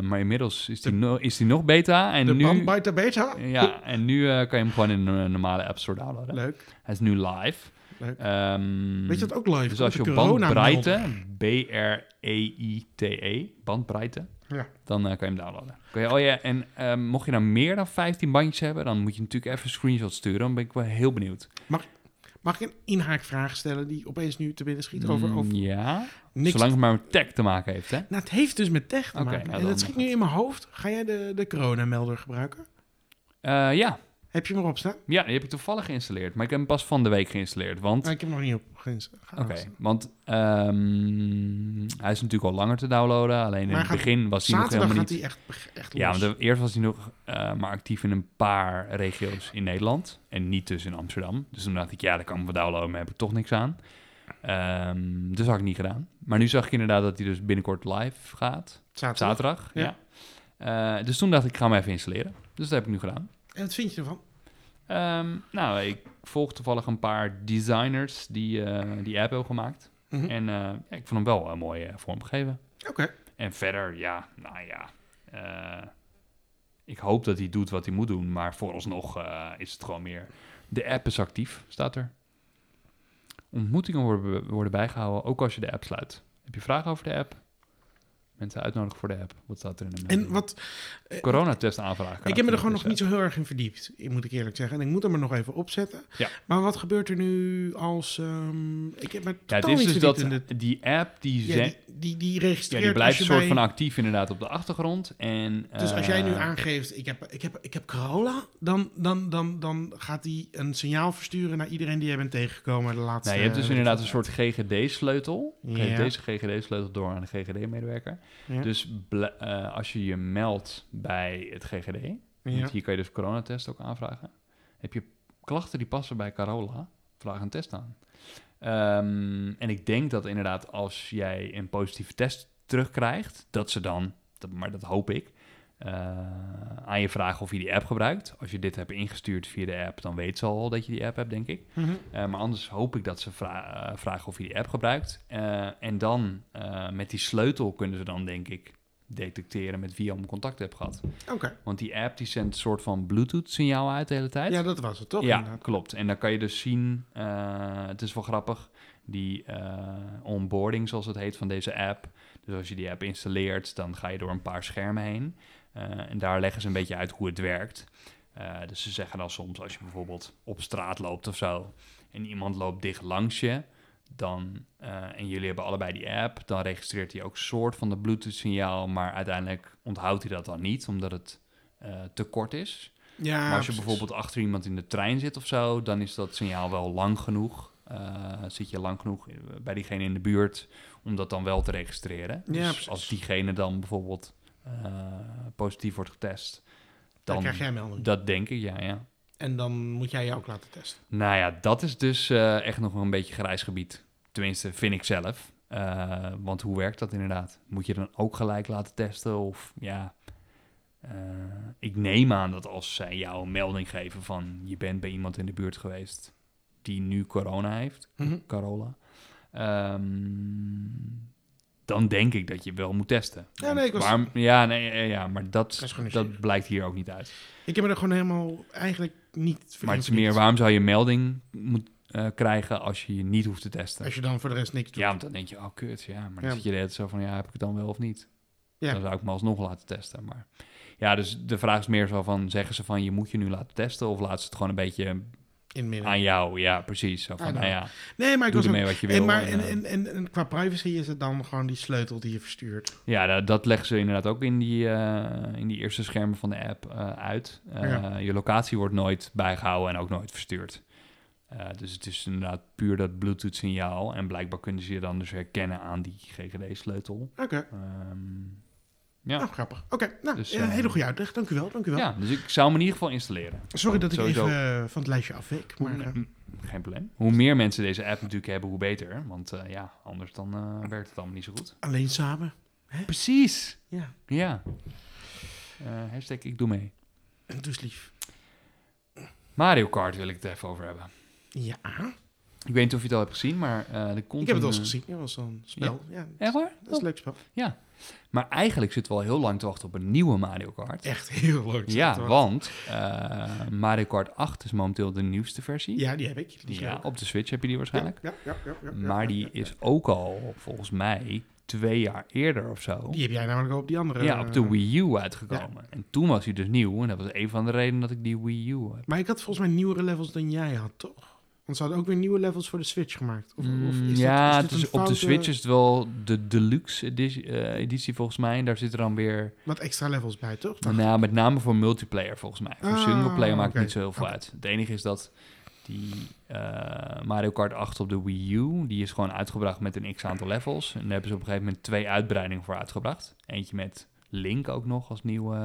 maar inmiddels is die, no- is die nog beta. En De nu, band bij Tabeta. ja, en nu eh, kan je hem gewoon in een normale App Store downloaden. Leuk. Hij is nu live. Leuk. Ehm, Weet je dat ook live? Dus als je Komt op de corona bandbreite, E B-R-E-I-T-e, bandbreite, Ja. E, dan eh, kan je hem downloaden. Kan je, oh ja, en ehm, mocht je nou meer dan 15 bandjes hebben, dan moet je natuurlijk even een screenshot sturen. Dan ben ik wel heel benieuwd. Mag ik een inhaakvraag stellen die opeens nu te binnen schiet over, Mm, over ja, niks? zolang het maar met tech te maken heeft, hè? Nou, het heeft dus met tech te Oké, maken. nou en dan dat schiet nu in mijn hoofd. Ga jij de, de coronamelder gebruiken? Eh, ja. Heb je hem erop staan? ja, die heb ik toevallig geïnstalleerd, maar ik heb hem pas van de week geïnstalleerd. Want, Ah, oké, ik heb hem nog niet op. Geen- gaan staan. want ehm, hij is natuurlijk al langer te downloaden. Alleen in Maar het gaat- begin was hij nog Zaterdag helemaal gaat niet... hij echt, echt los. Ja, want er- eerst was hij nog eh, maar actief in een paar regio's in Nederland. En niet dus in Amsterdam. Dus toen dacht ik, ja, dat kan ik me downloaden, maar heb ik toch niks aan. Ehm, dus had ik niet gedaan. Maar nu zag ik inderdaad dat hij dus binnenkort live gaat. Zaterdag. Zaterdag, ja. Ja. Eh, dus toen dacht ik, ik ga hem even installeren. Dus dat heb ik nu gedaan. En wat vind je ervan? Ehm, nou, ik volg toevallig een paar designers die eh, die app hebben gemaakt. Mhm. En eh, ja, ik vond hem wel een mooie eh, vormgegeven. Oké. En verder, ja, nou ja. eh, ik hoop dat hij doet wat hij moet doen, maar vooralsnog eh, is het gewoon meer. De app is actief, staat er. Ontmoetingen worden, worden bijgehouden, ook als je de app sluit. Heb je vragen over de app? Mensen uitnodigen voor de app. Wat staat er in de En melding? wat, Coronatest aanvragen. kan ik heb me er natuurlijk gewoon nog dus, niet zo heel erg in verdiept, moet ik eerlijk zeggen. En ik moet hem er nog even opzetten. Ja. Maar wat gebeurt er nu als... ehm, ik heb me eh, Ja, totaal het is niet verdiept dus dat in dit. die app die, Ja, zen- die, die, die ja, registreert die blijft als een je soort bij- van actief inderdaad op de achtergrond. En, Dus als jij nu eh, aangeeft, ik heb, ik heb, ik heb Corolla, dan, dan, dan, dan gaat hij een signaal versturen naar iedereen die jij bent tegengekomen de laatste... Nou, je hebt dus eh, inderdaad een soort GGD-sleutel. Je Ja. Geeft deze GGD-sleutel door aan de GGD-medewerker. Ja. Dus bl- eh, als je je meldt bij het GGD, Ja. want hier kan je dus coronatest ook aanvragen. Heb je klachten die passen bij Carola, vraag een test aan. Ehm, en ik denk dat inderdaad als jij een positieve test terugkrijgt, dat ze dan, dat- maar dat hoop ik, eh, aan je vragen of je die app gebruikt. Als je dit hebt ingestuurd via de app, dan weet ze al dat je die app hebt, denk ik. Mhm. Eh, maar anders hoop ik dat ze vra- eh, vragen of je die app gebruikt. Eh, en dan eh, met die sleutel kunnen ze dan, denk ik, detecteren met wie je om contact hebt gehad. Oké, Want die app die zendt een soort van Bluetooth-signaal uit de hele tijd. ja, dat was het toch? Ja, inderdaad. klopt. En dan kan je dus zien, eh, het is wel grappig, die eh, onboarding zoals het heet van deze app. Dus als je die app installeert, dan ga je door een paar schermen heen. Eh, en daar leggen ze een beetje uit hoe het werkt. Eh, dus ze zeggen dan soms, als je bijvoorbeeld op straat loopt of zo, en iemand loopt dicht langs je, dan, eh, en jullie hebben allebei die app, dan registreert hij ook soort van dat Bluetooth-signaal, maar uiteindelijk onthoudt hij dat dan niet, omdat het eh, te kort is. Ja, maar als je Ah, precies. bijvoorbeeld achter iemand in de trein zit of zo, dan is dat signaal wel lang genoeg. Eh, zit je lang genoeg bij diegene in de buurt om dat dan wel te registreren. Ja, dus precies. als diegene dan bijvoorbeeld eh, positief wordt getest, dan, dan, krijg jij een melding. dat denk ik, ja, ja. En dan moet jij je ook laten testen. Nou ja, dat is dus eh, echt nog een beetje grijs gebied. Tenminste, vind ik zelf. Eh, want hoe werkt dat inderdaad? Moet je dan ook gelijk laten testen? Of ja, eh, ik neem aan dat als zij jou een melding geven van je bent bij iemand in de buurt geweest die nu corona heeft, Carola, ehm, dan denk ik dat je wel moet testen. Ja, Want nee, ik was- waarom- ja, nee, ja, ja, maar Dat is dat, gewoon een dat zeker. blijkt hier ook niet uit. Ik heb me er gewoon helemaal eigenlijk niet voor Maar het is ingediend. meer, waarom zou je een melding moet, eh, krijgen als je je niet hoeft te testen? Als je dan voor de rest niks doet. Ja, want dan denk je, oh kut, ja. Maar Ja. dan zit je de hele tijd zo van, ja, heb ik het dan wel of niet? Ja. Dan zou ik me alsnog laten testen. Maar ja, dus de vraag is meer zo van, zeggen ze van, je moet je nu laten testen? Of laten ze het gewoon een beetje in het midden. aan jou? Ja, precies. Zo van, Ah, nou nou. ja, Nee, maar ik doe was ermee wat je wil. en, maar, en, en, eh, en, en, en qua privacy is het dan gewoon die sleutel die je verstuurt. Ja, da- dat leggen ze inderdaad ook in die, eh, in die eerste schermen van de app eh, uit. Eh, Ja. Je locatie wordt nooit bijgehouden en ook nooit verstuurd. Eh, dus het is inderdaad puur dat Bluetooth-signaal. En blijkbaar kunnen ze je dan dus herkennen aan die GGD-sleutel. Oké, Ehm, ja. nou grappig. Oké, nou, Dus, ja, eh, hele goede uitleg. Dank u wel, dank u wel. ja, dus ik zou hem in ieder geval installeren. Sorry dat ik Sowieso. even eh, van het lijstje afweek, maar... eh, Mm, Geen probleem. Hoe meer mensen deze app natuurlijk hebben, hoe beter. Want eh, ja, anders dan eh, werkt het allemaal niet zo goed. Alleen samen. Precies. Ja, Ja. Eh, hashtag ik doe mee. doe eens lief. Mario Kart wil ik het even over hebben. Ja, Ik weet niet of je het al hebt gezien, maar eh er komt ik heb het een, wel eens eh, gezien. Dat was een spel. Mm. Ja, Echt waar? dat is een leuk spel. Maar eigenlijk zitten we al heel lang te wachten op een nieuwe Mario Kart. Echt heel leuk. ja, Dat was- want eh, Mario Kart 8 is momenteel de nieuwste versie. Ja, die heb ik. Die is Ja, leuk. op de Switch heb je die waarschijnlijk. Ja, ja, ja, ja, ja, maar ja, die ja. is ook al, volgens mij, twee jaar eerder of zo. Die heb jij namelijk ook op die andere... ja, op de eh, Wii U uitgekomen. En toen was hij dus nieuw. En dat was een van de redenen dat ik die Wii U heb. Maar ik had volgens mij nieuwere levels dan jij had, toch? Want ze hadden ook weer nieuwe levels voor de Switch gemaakt. Of, of Mm, is dit- ja, dit het is- een op foute- de Switch is het wel de deluxe editie, eh, editie volgens mij. En daar zit er dan weer, Wat extra levels bij, toch? nou, ja, met name voor multiplayer volgens mij. Voor Ah, singleplayer maakt oké. het niet zo heel veel uit. Het enige is dat die eh, Mario Kart 8 op de Wii U, die is gewoon uitgebracht met een x-aantal levels. En daar hebben ze op een gegeven moment twee uitbreidingen voor uitgebracht. Eentje met Link ook nog als nieuwe...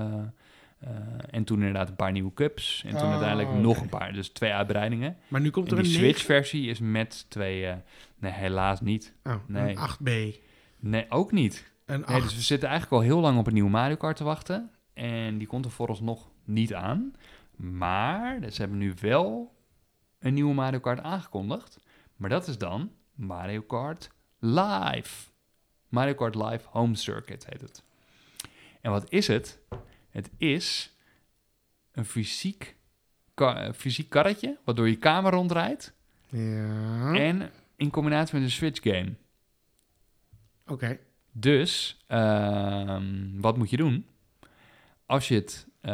eh, en toen inderdaad een paar nieuwe cups. En toen Ah, uiteindelijk oké. nog een paar. Dus twee uitbreidingen. Maar nu komt En er een die 9. Switch-versie is met twee... eh, nee, helaas niet. Oh, Nee. een 8B. Nee, ook niet. Een 8. Nee, dus we zitten eigenlijk al heel lang op een nieuwe Mario Kart te wachten. En die komt er vooralsnog niet aan. Maar ze hebben nu wel een nieuwe Mario Kart aangekondigd. Maar dat is dan Mario Kart Live. Mario Kart Live Home Circuit heet het. En wat is het? Het is een fysiek, ka- eh, fysiek karretje, waardoor je kamer rondrijdt. Ja, oké. En in combinatie met een Switch game. Dus, ehm, wat moet je doen? Als je het... eh,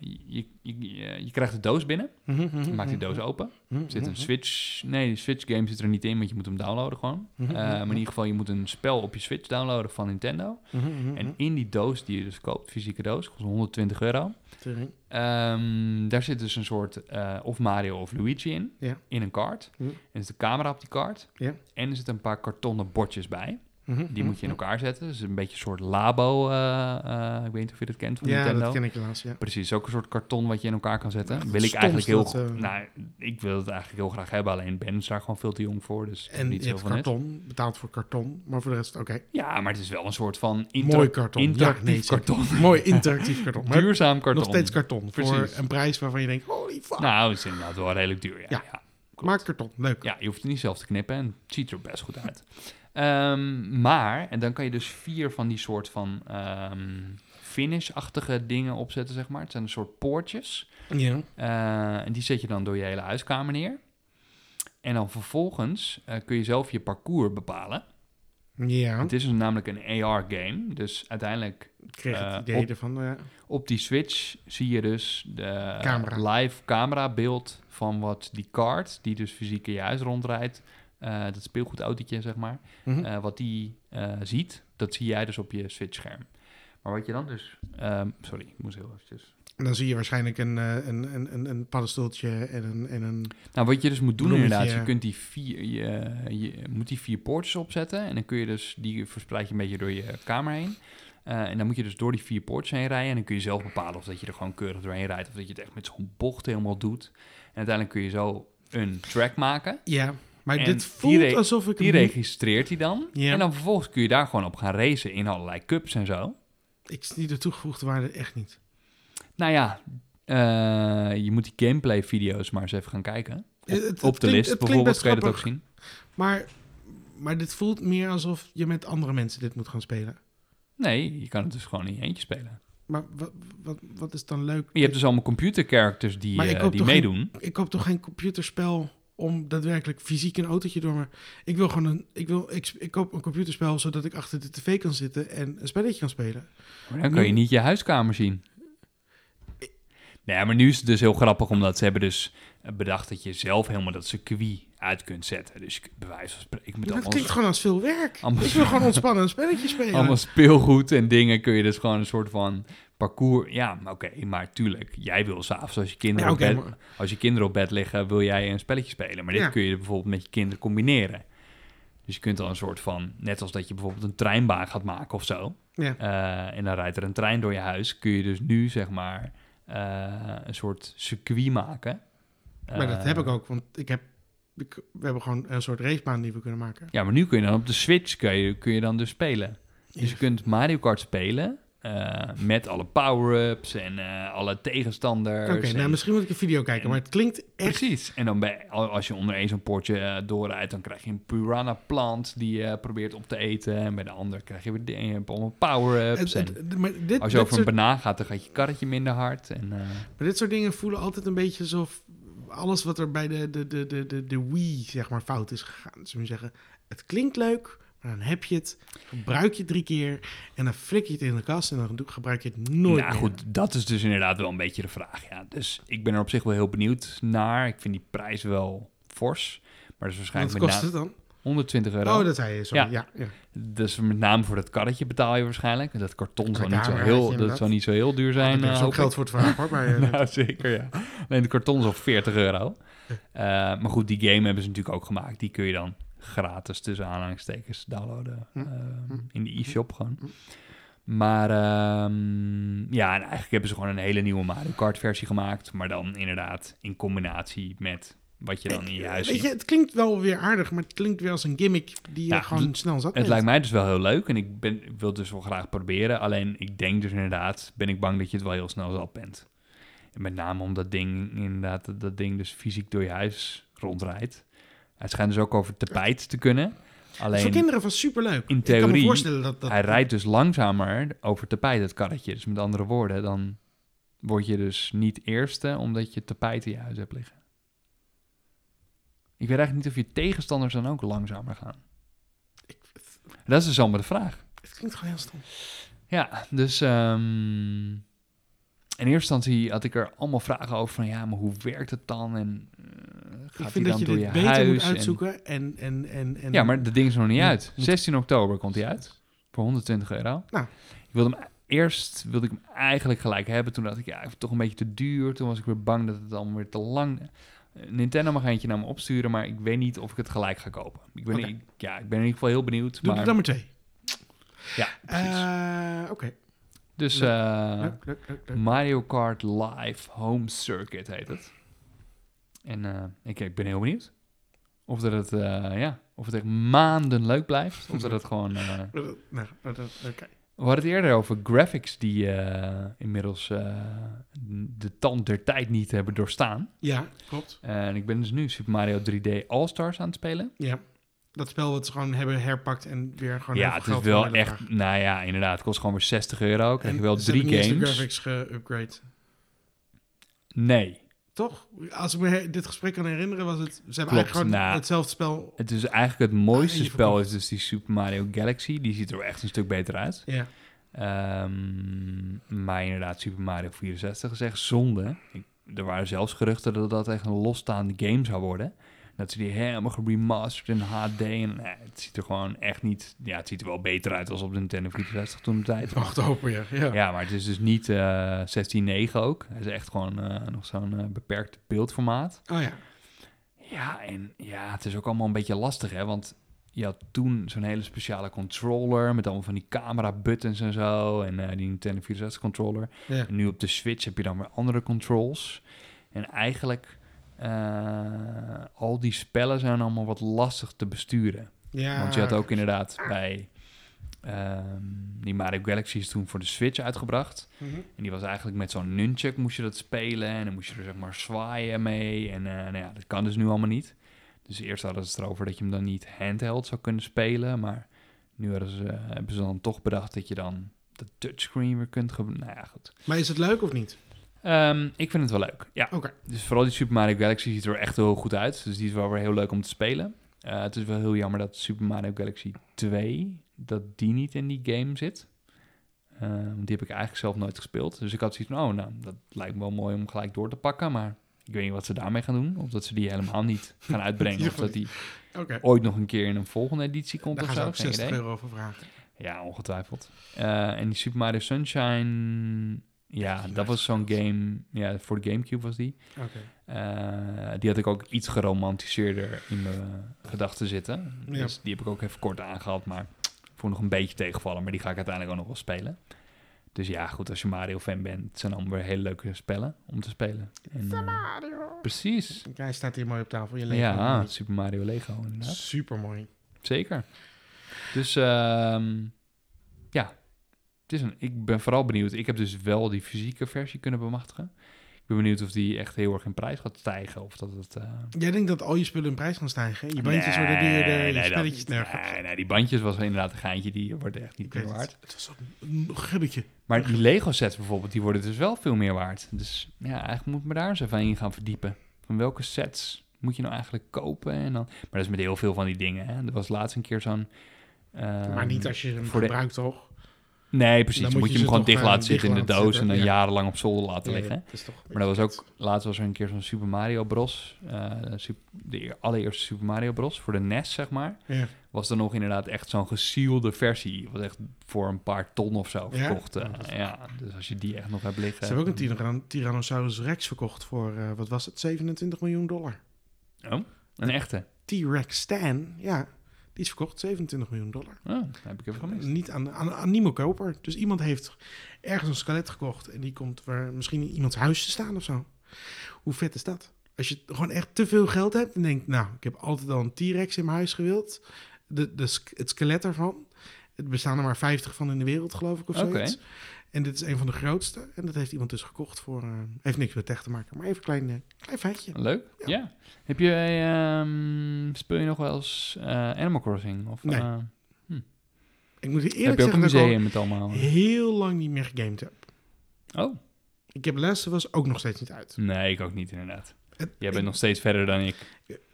je, je, je, je krijgt de doos binnen, Mhm, mhm, maak die mhm, doos open. mhm, Er zit een mhm. Switch... Nee, de Switch game zit er niet in, want je moet hem downloaden gewoon. Mhm, Eh, maar in ieder geval, je moet een spel op je Switch downloaden van Nintendo. mhm, mhm, En mhm. in die doos die je dus koopt, fysieke doos, kost 120 euro. Tering. Ehm, daar zit dus een soort eh, of Mario of Luigi in, Ja. in een kaart. Ja. En er zit een camera op die kaart. Ja. En er zitten een paar kartonnen bordjes bij. Mhm, Die moet je in mhm. elkaar zetten. Dus een beetje een soort labo. eh, eh, ik weet niet of je dat kent van Ja, Nintendo. dat ken ik helaas, ja. Precies, ook een soort karton wat je in elkaar kan zetten. Echt het wil ik eigenlijk heel. stomste dat, eh, Nou, ik wil het eigenlijk heel graag hebben. Alleen Ben is daar gewoon veel te jong voor. Dus En niet je zo hebt van net. karton, betaald voor karton, maar voor de rest, oké. Ja, maar het is wel een soort van inter- Mooi karton. interactief Ja, nee, zeker. karton. Mooi interactief karton. Maar Duurzaam karton. nog steeds karton. Precies. Voor een prijs waarvan je denkt, holy fuck. Nou, het is inderdaad wel redelijk duur. Ja, Ja. ja. Maak karton, leuk. Ja, je hoeft het niet zelf te knippen en het ziet er best goed uit. Ehm, maar, en dan kan je dus vier van die soort van ehm, finish-achtige dingen opzetten, zeg maar. Het zijn een soort poortjes. Ja. Eh, en die zet je dan door je hele huiskamer neer. En dan vervolgens eh, kun je zelf je parcours bepalen. Ja, Het is dus namelijk een AR-game. Dus uiteindelijk ik kreeg eh, het idee op- ervan. nou ja. op die Switch zie je dus de Camera. live camerabeeld van wat die kaart, die dus fysiek in je huis rondrijdt, eh, eh, dat speelgoedautootje, zeg maar. Mhm. Eh, wat die eh, ziet, dat zie jij dus op je Switch-scherm. Maar wat je dan dus... ehm, sorry, ik moest heel eventjes... En dan zie je waarschijnlijk een, eh, een, een, een, een paddenstoeltje en een... En een Nou, wat je dus moet doen Bloemetje, inderdaad, is je ja. kunt die vier, je, je moet die vier poortjes opzetten en dan kun je dus, die verspreid je een beetje door je kamer heen. Eh, en dan moet je dus door die vier poortjes heen rijden en dan kun je zelf bepalen of dat je er gewoon keurig doorheen rijdt of dat je het echt met zo'n bocht helemaal doet. En uiteindelijk kun je zo een track maken. ja, maar En dit die voelt re- alsof ik... Die hem- registreert hij dan. Ja. En dan vervolgens kun je daar gewoon op gaan racen in allerlei cups en zo. Ik zie de toegevoegde waarde echt niet. Nou ja, eh, je moet die gameplay video's maar eens even gaan kijken. Op, Het- het op de klinkt- list het klinkt bijvoorbeeld best kun je dat ook grappig. zien. Maar, maar dit voelt meer alsof je met andere mensen dit moet gaan spelen. Nee, je kan het dus gewoon in je eentje spelen. Maar wat, wat, wat is dan leuk? Maar Je hebt dus allemaal computercharacters die, Maar ik eh, hoop die toch geen- meedoen. Ik koop toch geen computerspel om daadwerkelijk fysiek een autootje door me... Ik wil gewoon een... Ik, wil, ik, ik koop een computerspel zodat ik achter de tv kan zitten en een spelletje kan spelen. Maar dan kan je niet je huiskamer zien. Nee, maar nu is het dus heel grappig, omdat ze hebben dus bedacht dat je zelf helemaal dat circuit uit kunt zetten. Dus je kunt bij wijze van spreken met Dat allemaal, klinkt gewoon als veel werk. Allemaal- Ik wil gewoon ontspannen een spelletje spelen. allemaal speelgoed en dingen kun je dus gewoon een soort van parcours... Ja, maar oké, maar tuurlijk, jij wil s'avonds als, je kinderen Ja, op oké, bed- maar- als je kinderen op bed liggen, wil jij een spelletje spelen. Maar dit Ja. kun je bijvoorbeeld met je kinderen combineren. Dus je kunt dan een soort van, net als dat je bijvoorbeeld een treinbaan gaat maken of zo... Ja. Eh, en dan rijdt er een trein door je huis. Kun je dus nu, zeg maar, eh, een soort circuit maken. Maar dat Eh, heb ik ook, want ik heb, ik- we hebben gewoon een soort racebaan die we kunnen maken. Ja, maar nu kun je dan op de Switch kun je, kun je dan dus spelen. Dus je kunt Mario Kart spelen eh, met alle power-ups en eh, alle tegenstanders. Oké, en- nou, misschien moet ik een video kijken, maar het klinkt echt... Precies. En dan bij, al- als je onder één zo'n potje eh, doorrijdt, dan krijg je een piranha plant die je eh, probeert op te eten. En bij de ander krijg je weer dingen, allemaal power-ups. het- En het- maar, dit, Eh, dit als je over een soort, banaan gaat, dan gaat je karretje minder hard. En, eh, maar dit soort dingen voelen altijd een beetje alsof alles wat er bij de, de, de, de, de, de Wii zeg maar, fout is gegaan. Dus we moeten zeggen, het klinkt leuk, maar dan heb je het, gebruik je het drie keer en dan flik je het in de kast en dan doe- gebruik je het nooit nou meer. goed, dat is dus inderdaad wel een beetje de vraag. Ja. Dus ik ben er op zich wel heel benieuwd naar. Ik vind die prijs wel fors. Maar dat is waarschijnlijk Wat met kost name het dan? 120 euro. Oh, dat zei je, sorry. Ja, ja. Dus met name voor dat karretje betaal je waarschijnlijk. Dat karton zal Ja, niet, zo maar heel, weet je dat dat? Ah, zal niet zo heel duur zijn. Dat eh, is hoop ook ik. geld voor het verhaal, hoor, maar... eh, nou, zeker, ja. Alleen de karton is al 40 euro. Eh, maar goed, die game hebben ze natuurlijk ook gemaakt. Die kun je dan gratis tussen aanhalingstekens downloaden Hm. eh, in de e-shop gewoon. Maar ehm, ja, en eigenlijk hebben ze gewoon een hele nieuwe Mario Kart versie gemaakt. Maar dan inderdaad in combinatie met wat je dan in je huis Weet ziet. je, het klinkt wel weer aardig, maar het klinkt weer als een gimmick die je Nou, gewoon het- snel zat Het bent. lijkt mij dus wel heel leuk en ik, ben, ik wil het dus wel graag proberen. Alleen ik denk dus inderdaad, ben ik bang dat je het wel heel snel zat bent. En met name omdat ding, inderdaad, dat, dat ding dus fysiek door je huis rondrijdt. Het schijnt dus ook over tapijt te kunnen. Dus voor Alleen kinderen was superleuk. in Ik kan me theorie, voorstellen dat dat... hij rijdt dus langzamer over tapijt, het karretje. Dus met andere woorden, dan word je dus niet eerste omdat je tapijt in je huis hebt liggen. Ik weet eigenlijk niet of je tegenstanders dan ook langzamer gaan. Ik- het, Dat is dus allemaal de vraag. het klinkt gewoon heel stom. Ja, dus ehm, in eerste instantie had ik er allemaal vragen over van ja, maar hoe werkt het dan en eh, Ik gaat die vind dat dan je door dit je beter huis? moet en- uitzoeken en... en, en, en Ja, maar dat ding is er nog niet Ja, uit. moet- 16 oktober komt hij uit voor 120 euro. Nou. Ik wilde hem eerst wilde ik hem eigenlijk gelijk hebben. Toen dacht ik ja, ik vind het toch een beetje te duur. Toen was ik weer bang dat het dan weer te lang. Nintendo mag eentje naar me opsturen, maar ik weet niet of ik het gelijk ga kopen. Ik ben, Oké. niet- ja, ik ben in ieder geval heel benieuwd. Doe maar, er dan maar twee. Ja, precies. Eh, Oké, dus leuk. eh, leuk, leuk, leuk, leuk. Mario Kart Live Home Circuit heet het. En eh, ik, ik ben heel benieuwd. Of, dat het, eh, ja, of het echt maanden leuk blijft. Of dat het gewoon... eh, Eh, nou, dat- dat- oké. We hadden het eerder over graphics die eh, inmiddels eh, de tand der tijd niet hebben doorstaan. Ja, klopt. en ik ben dus nu Super Mario 3D All-Stars aan het spelen. Ja. Dat spel wat ze gewoon hebben herpakt en weer gewoon... heel ja, veel het is geld wel voor echt... vragen. Nou ja, inderdaad. Het kost gewoon weer 60 euro. Krijg je En wel ze drie hebben niet eens de games. graphics geüpgrade. Nee. Toch? Als ik me he- dit gesprek kan herinneren, was het... Ze hebben Klopt, eigenlijk gewoon nou, hetzelfde spel... Het is eigenlijk het mooiste Ah, je spel verkoopt. is dus die Super Mario Galaxy. Die ziet er wel echt een stuk beter uit. Ja. Ehm, maar inderdaad, Super Mario 64 is echt zonde. Ik- er waren zelfs geruchten dat dat echt een losstaande game zou worden. Dat ze die helemaal geremasterd en HD. En, eh, het ziet er gewoon echt niet... Ja, het ziet er wel beter uit als op de Nintendo 64 toen de tijd. Mag het hopen, ja. ja. Ja, maar het is dus niet eh 16.9 ook. Het is echt gewoon eh, nog zo'n eh, beperkt beeldformaat. Oh ja. Ja, en ja, het is ook allemaal een beetje lastig, hè? Want je had toen zo'n hele speciale controller met allemaal van die camera-buttons en zo. En eh, die Nintendo 64-controller. ja. En nu op de Switch heb je dan weer andere controls. En eigenlijk, eh, al die spellen zijn allemaal wat lastig te besturen. Ja. Want je had ook inderdaad bij ehm, die Mario Galaxy is toen voor de Switch uitgebracht. Mhm. En die was eigenlijk met zo'n nunchuck moest je dat spelen. En dan moest je er zeg maar zwaaien mee. En eh, nou ja, dat kan dus nu allemaal niet. Dus eerst hadden ze het erover dat je hem dan niet handheld zou kunnen spelen. Maar nu hadden ze, eh, hebben ze dan toch bedacht dat je dan de touchscreen weer kunt gebruiken. Nou ja, goed. Maar is het leuk of niet? Ehm, ik vind het wel leuk. Ja. Oké. Dus vooral die Super Mario Galaxy ziet er echt heel goed uit. Dus die is wel weer heel leuk om te spelen. Eh, het is wel heel jammer dat Super Mario Galaxy 2, dat die niet in die game zit. Eh, want die heb ik eigenlijk zelf nooit gespeeld. Dus ik had zoiets van, oh, nou, dat lijkt me wel mooi om gelijk door te pakken. Maar ik weet niet wat ze daarmee gaan doen. Of dat ze die helemaal niet gaan uitbrengen. of dat die Oké. ooit nog een keer in een volgende editie komt Daar of gaan ze zo. ook Geen 60 idee. euro voor vragen. Ja, ongetwijfeld. Eh, en die Super Mario Sunshine... Ja, dat was zo'n game... Ja, voor de Gamecube was die. Oké. Eh, die had ik ook iets geromantiseerder in mijn gedachten zitten. Ja. Dus die heb ik ook even kort aangehad, maar voor nog een beetje tegenvallen. Maar die ga ik uiteindelijk ook nog wel spelen. Dus ja, goed, als je Mario-fan bent, het zijn allemaal weer hele leuke spellen om te spelen. En, eh, Ah, precies. Kijk, Hij staat hier mooi op tafel. Je leeft hem ja, niet. Super Mario Lego inderdaad. Super mooi. Zeker. Dus ehm, ja, het is een, ik ben vooral benieuwd. Ik heb dus wel die fysieke versie kunnen bemachtigen. Ik ben benieuwd of die echt heel erg in prijs gaat stijgen. Of dat het... eh, Jij denkt dat al je spullen in prijs gaan stijgen? Je bandjes worden duurder, je dat spelletjes niet. nergens. Nee, nee, die bandjes was inderdaad een geintje. Die worden echt niet Ik weet meer het. waard. Het was ook een gubbetje. Maar die Lego sets bijvoorbeeld, die worden dus wel veel meer waard. Dus ja, eigenlijk moet ik me daar eens even in gaan verdiepen. Van welke sets moet je nou eigenlijk kopen? En dan... Maar dat is met heel veel van die dingen. Hè. Er was laatst een keer zo'n... ehm, maar niet als je hem voor de- gebruikt, toch? Nee, precies. Dan Dan moet moet je je ze hem gewoon toch, dicht eh, laten zitten in dicht de laten doos... en dan zitten, ja. jarenlang op zolder laten liggen. het is toch een Maar dat was beetje ook, laatst was er een keer zo'n Super Mario Bros. eh, sup- de eer- allereerste Super Mario Bros. voor de NES, zeg maar. kut. Ja. was er nog inderdaad echt zo'n gesielde versie. Was echt voor een paar ton of zo Ja? verkocht. eh, Oh, dat is- ja, dus als je die echt nog hebt Ze liggen. hebben ook een tyran- Tyrannosaurus Rex verkocht voor, eh, wat was het, 27 miljoen dollar. Een echte. T-Rex Stan, ja, die is verkocht 27 miljoen dollar. Oh, dat heb ik even gemist. Niet aan, aan, aan niemand koper. Dus iemand heeft ergens een skelet gekocht en die komt waar, misschien in iemands huis te staan of zo. Hoe vet is dat? Als je gewoon echt te veel geld hebt en denkt, nou, ik heb altijd al een T-Rex in mijn huis gewild. De, de, sk- het skelet ervan. Er bestaan er maar 50 van in de wereld, geloof ik, of Oké. zoiets. En dit is een van de grootste. En dat heeft iemand dus gekocht voor... eh, heeft niks met tech te maken, maar even een klein, eh, klein feitje. Leuk. Ja. Heb je, ehm, speel je nog wel eens eh, Animal Crossing? Of, Nee. eh, Ik moet je heb eerlijk je ook zeggen een dat ik al museum met allemaal? heel lang niet meer gegamed heb. Oh, Ik heb Last was ook nog steeds niet uit. nee, ik ook niet inderdaad. Het- Jij bent ik- nog steeds verder dan ik.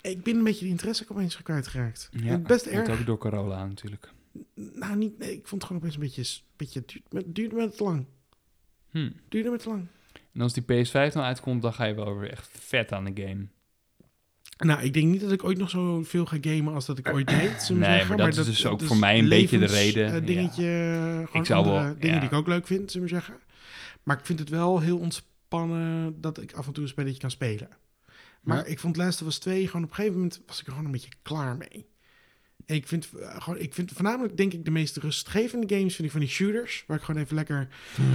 Ik ben een beetje de interesse opeens kwijtgeraakt. Ja, En best Komt erg. ook door corona natuurlijk. Nou, niet, nee, ik vond het gewoon opeens een beetje... beetje het duurde, me- het duurde me te lang. Hm. Het Duurde me te lang. En als die PS5 nou uitkomt, dan ga je wel weer echt vet aan de game. Nou, ik denk niet dat ik ooit nog zoveel ga gamen als dat ik ooit deed. zullen we Nee, maar zeggen. dat is dus ook voor mij een beetje de reden. eh, dingetje, gewoon Ik zou wel- andere dingen ja. die ik ook leuk vind, zullen we zeggen. Maar ik vind het wel heel ontspannen dat ik af en toe een spelletje kan spelen. Maar Ja. ik vond Last of Us 2 gewoon op een gegeven moment was ik er gewoon een beetje klaar mee. En ik vind, eh, gewoon, ik vind voornamelijk denk ik de meest rustgevende games vind ik van die shooters. Waar ik gewoon even lekker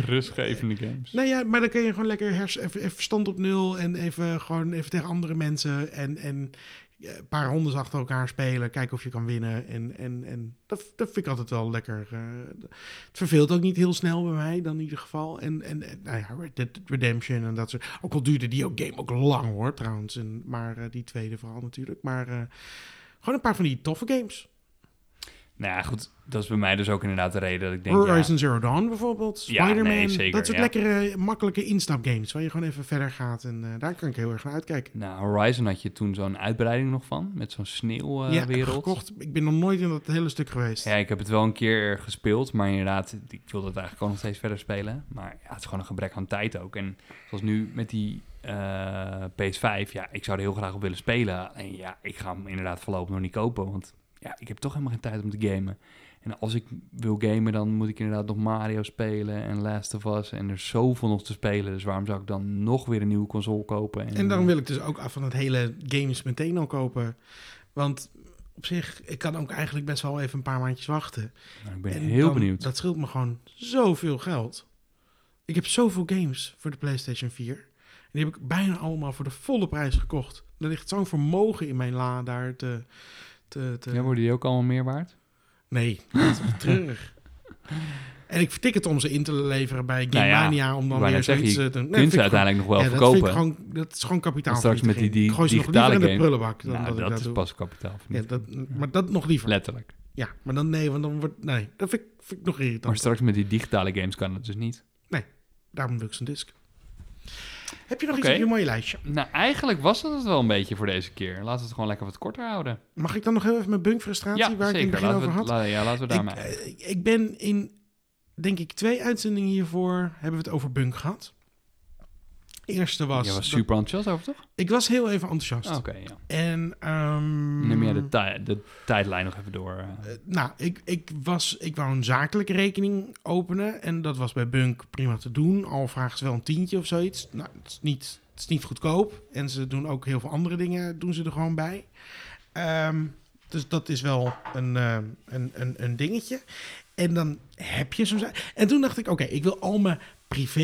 Rustgevende games. nou ja, maar dan kun je gewoon lekker hers, even, even verstand op nul en even gewoon even tegen andere mensen en, en eh, een paar rondes achter elkaar spelen, kijken of je kan winnen. En, en, en dat, dat vind ik altijd wel lekker. eh, het verveelt ook niet heel snel bij mij dan in ieder geval. En, en, en, nou ja, Red Dead Redemption en dat soort. Ook al duurde die ook game ook lang hoor trouwens, en, maar eh, die tweede vooral natuurlijk. Maar eh, gewoon een paar van die toffe games. Nou ja, goed, dat is bij mij dus ook inderdaad de reden dat ik denk, ja, Horizon Zero Dawn bijvoorbeeld, Ja, Spider-Man. nee, zeker, dat soort ja. lekkere, makkelijke instapgames waar je gewoon even verder gaat. En eh, daar kan ik heel erg naar uitkijken. nou, Horizon had je toen zo'n uitbreiding nog van, met zo'n Eh, ja, sneeuwwereld. gekocht. Ik ben nog nooit in dat hele stuk geweest. ja, ik heb het wel een keer gespeeld, maar inderdaad, ik wil dat eigenlijk ook nog steeds verder spelen. Maar ja, het is gewoon een gebrek aan tijd ook. En zoals nu met die eh, PS5, ja, ik zou er heel graag op willen spelen. En ja, ik ga hem inderdaad voorlopig nog niet kopen, want ja, ik heb toch helemaal geen tijd om te gamen. En als ik wil gamen, dan moet ik inderdaad nog Mario spelen en Last of Us. En er is zoveel nog te spelen, dus waarom zou ik dan nog weer een nieuwe console kopen? En daarom wil ik dus ook af van het hele games meteen al kopen. Want op zich, ik kan ook eigenlijk best wel even een paar maandjes wachten. Nou, ik ben En heel dan- benieuwd. Dat scheelt me gewoon zoveel geld. Ik heb zoveel games voor de PlayStation 4. En die heb ik bijna allemaal voor de volle prijs gekocht. Er ligt zo'n vermogen in mijn la daar te... te, te... Ja, worden die ook allemaal meer waard? eh, Nee, dat is toch treurig. En ik vertik het om ze in te leveren bij Nou ja, Game Mania om dan wou weer net zeggen, zoiets eh, te doen. Nee, Kun je vind ze ik uiteindelijk nog wel gewoon- ja, dat, vind verkopen? ik gewoon, dat is gewoon kapitaal. Straks met die- die Ik gooi ze nog digitale liever in de game. prullenbak dan Nou, dat, dat, ik dat is doe. pas kapitaal. Ja, dat, maar dat nog liever. Letterlijk. Ja, maar dan nee, want dan wordt... Nee, dat vind ik, vind ik nog irritant. Maar straks met die digitale games kan het dus niet. Daarom wil ik zo'n disc. Heb je nog Oké. iets op je mooie lijstje? Nou, eigenlijk was dat het wel een beetje voor deze keer. Laten we het gewoon lekker wat korter houden. Mag ik dan nog heel even mijn bunkfrustratie waar ik in het begin Laten over we, had? het- la- ja, laten we ik, daarmee. eh, ik ben in, denk ik, twee uitzendingen hiervoor hebben we het over bunk gehad. Eerste was... Je was dat- super enthousiast over, toch? ik was heel even enthousiast. Oké, ja. En... ehm, Neem jij de, tij- de tijdlijn nog even door. eh. eh, nou, ik, ik, was, ik wou een zakelijke rekening openen. En dat was bij Bunk prima te doen. Al vragen ze wel een tientje of zoiets. Nou, het is niet, het is niet goedkoop. En ze doen ook heel veel andere dingen doen ze er gewoon bij. Ehm, dus dat is wel een, ehm, een, een, een dingetje. En dan heb je zo'n... za- En toen dacht ik, oké, ik wil al mijn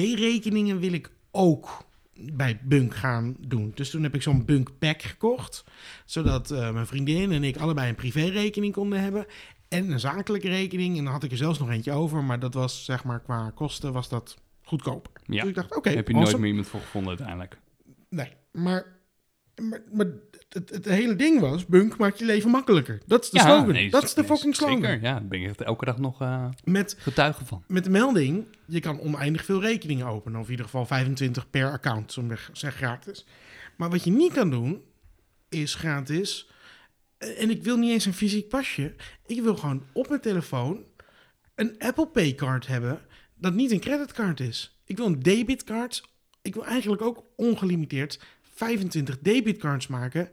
privérekeningen wil ik ook bij Bunk gaan doen. Dus toen heb ik zo'n Bunk Pack gekocht. Zodat eh, mijn vriendin en ik allebei een privérekening konden hebben. En een zakelijke rekening. En dan had ik er zelfs nog eentje over. Maar dat was, zeg maar, qua kosten was dat goedkoper. ja. Dus ik dacht, oké, Heb je awesome. nooit meer iemand voor gevonden uiteindelijk? Nee, maar, maar, maar het, het hele ding was... Bunk maakt je leven makkelijker. Dat is de slogan. nee, dat is de nee, fucking slogan. Zeker, ja. Daar ben ik echt elke dag nog eh, Met getuige van. met de melding, je kan oneindig veel rekeningen openen. Of in ieder geval 25 per account, zo'n weg zeg gratis. Maar wat je niet kan doen, is gratis. eh, En ik wil niet eens een fysiek pasje. Ik wil gewoon op mijn telefoon een Apple Pay card hebben dat niet een creditcard is. Ik wil een debitcard. Ik wil eigenlijk ook ongelimiteerd 25 debitcards maken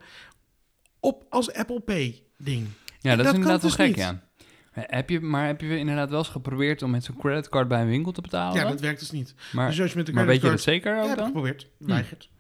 op als Apple Pay ding. Ja, En dat, dat kan is inderdaad wel dus gek, niet. ja. Eh, Heb je, maar heb je inderdaad wel eens geprobeerd om met zo'n creditcard bij een winkel te betalen? Ja, dat werkt dus niet. Oh, maar, dus als je met een maar weet je dat creditcard... zeker ja, ook heb ik dan? geprobeerd. Hm. Weigert.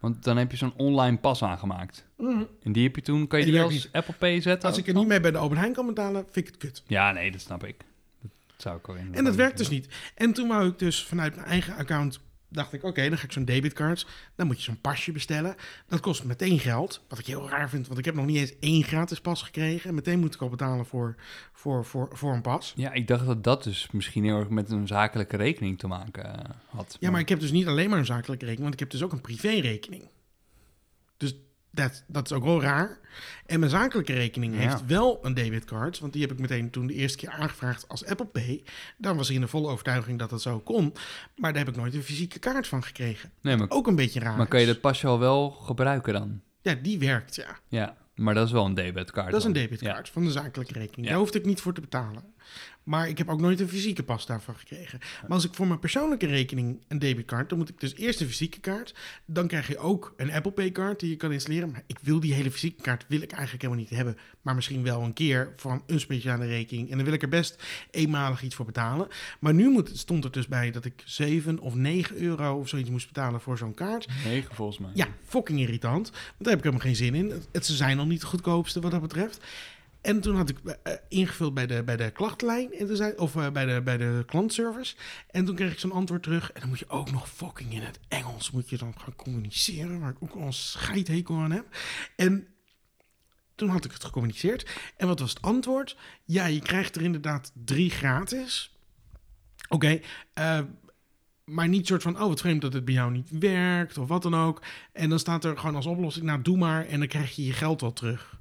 Want dan heb je zo'n online pas aangemaakt. Mhm. En die heb je toen, kan je En die, die als werkt Apple Pay zetten? Als ook ik er dan? niet mee bij de Albert Heijn kan betalen, vind ik het kut. Ja, nee, dat snap ik. Dat zou ik al in. En dat werkt dus niet. En toen wou ik dus vanuit mijn eigen account, dacht ik, oké, dan ga ik zo'n debitcard. Dan moet je zo'n pasje bestellen. Dat kost meteen geld, wat ik heel raar vind, want ik heb nog niet eens één gratis pas gekregen. En meteen moet ik al betalen voor, voor, voor, voor een pas. Ja, ik dacht dat dat dus misschien heel erg met een zakelijke rekening te maken eh, had. Ja, maar ik heb dus niet alleen maar een zakelijke rekening, want ik heb dus ook een privérekening. Dus dat, dat is ook wel raar. En mijn zakelijke rekening Ja. heeft wel een debitcard, want die heb ik meteen toen de eerste keer aangevraagd als Apple Pay. Dan was ik in de volle overtuiging dat dat zo kon, maar daar heb ik nooit een fysieke kaart van gekregen. nee, maar, Ook een beetje raar. maar kan je is. dat pasje al wel gebruiken dan? Ja, die werkt, ja. Ja, maar dat is wel een debitcard. Dat is een dan. debitkaart van de zakelijke rekening. Ja. Daar hoefde ik niet voor te betalen. Maar ik heb ook nooit een fysieke pas daarvan gekregen. Maar als ik voor mijn persoonlijke rekening een debitkaart... dan moet ik dus eerst een fysieke kaart. Dan krijg je ook een Apple Pay kaart die je kan installeren. Maar ik wil die hele fysieke kaart wil ik eigenlijk helemaal niet hebben. Maar misschien wel een keer van een speciale rekening. En dan wil ik er best eenmalig iets voor betalen. Maar nu moet, stond er dus bij dat ik 7 of 9 euro of zoiets moest betalen voor zo'n kaart. Ja. Negen volgens mij. Ja, fucking irritant. Want daar heb ik helemaal geen zin in. Het- Het, ze zijn al niet de goedkoopste wat dat betreft. En toen had ik eh, ingevuld bij de, bij de klachtlijn. En toen zei, of eh, bij, de, bij de klantservice. En toen kreeg ik zo'n antwoord terug. En dan moet je ook nog fucking in het Engels moet je dan gaan communiceren. Waar ik ook al een scheidhekel aan heb. En toen had ik het gecommuniceerd. En wat was het antwoord? Ja, je krijgt er inderdaad drie gratis. Oké, eh, maar niet soort van, oh wat vreemd dat het bij jou niet werkt of wat dan ook. En dan staat er gewoon als oplossing, nou doe maar en dan krijg je je geld wel terug.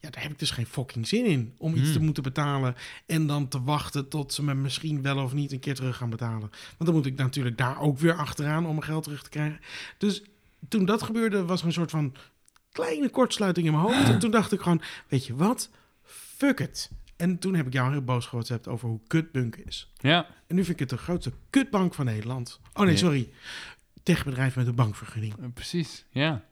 Ja, daar heb ik dus geen fucking zin in om iets Hmm. te moeten betalen en dan te wachten tot ze me misschien wel of niet een keer terug gaan betalen. Want dan moet ik natuurlijk daar ook weer achteraan om mijn geld terug te krijgen. Dus toen dat gebeurde was er een soort van kleine kortsluiting in mijn hoofd. En toen dacht ik gewoon, weet je wat, fuck it. En toen heb ik jou heel boos gewhatsappt over hoe kut Bunk is. Ja. En nu vind ik het de grootste kutbank van Nederland. Oh nee, Nee. sorry. techbedrijf met een bankvergunning. Eh, Precies, ja.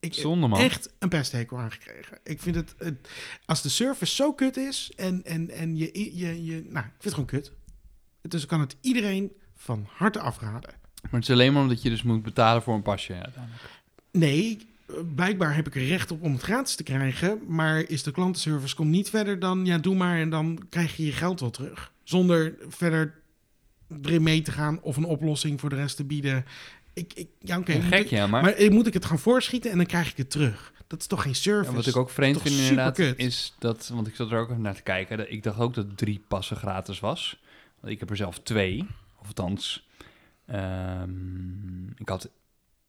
Ik heb Zonde, man. echt een pesthekel aangekregen. Ik vind het, het- als de service zo kut is en, en, en je, je, je, nou, ik vind het gewoon kut. Dus ik kan het iedereen van harte afraden. Maar het is alleen maar omdat je dus moet betalen voor een pasje. uiteindelijk. Nee, eh, blijkbaar heb ik er recht op om het gratis te krijgen. Maar is de klantenservice komt niet verder dan ja, doe maar en dan krijg je je geld wel terug. Zonder verder erin mee te gaan of een oplossing voor de rest te bieden. Ik, ik, ja, oké. Ja, moet gek, ik- ja, maar... maar... eh, moet ik het gaan voorschieten en dan krijg ik het terug? Dat is toch geen service? Ja, wat ik ook vreemd Toch vind inderdaad, superkut. is dat... Want ik zat er ook even naar te kijken. dat- Ik dacht ook dat drie passen gratis was. Want ik heb er zelf twee. Of althans, ehm, ik had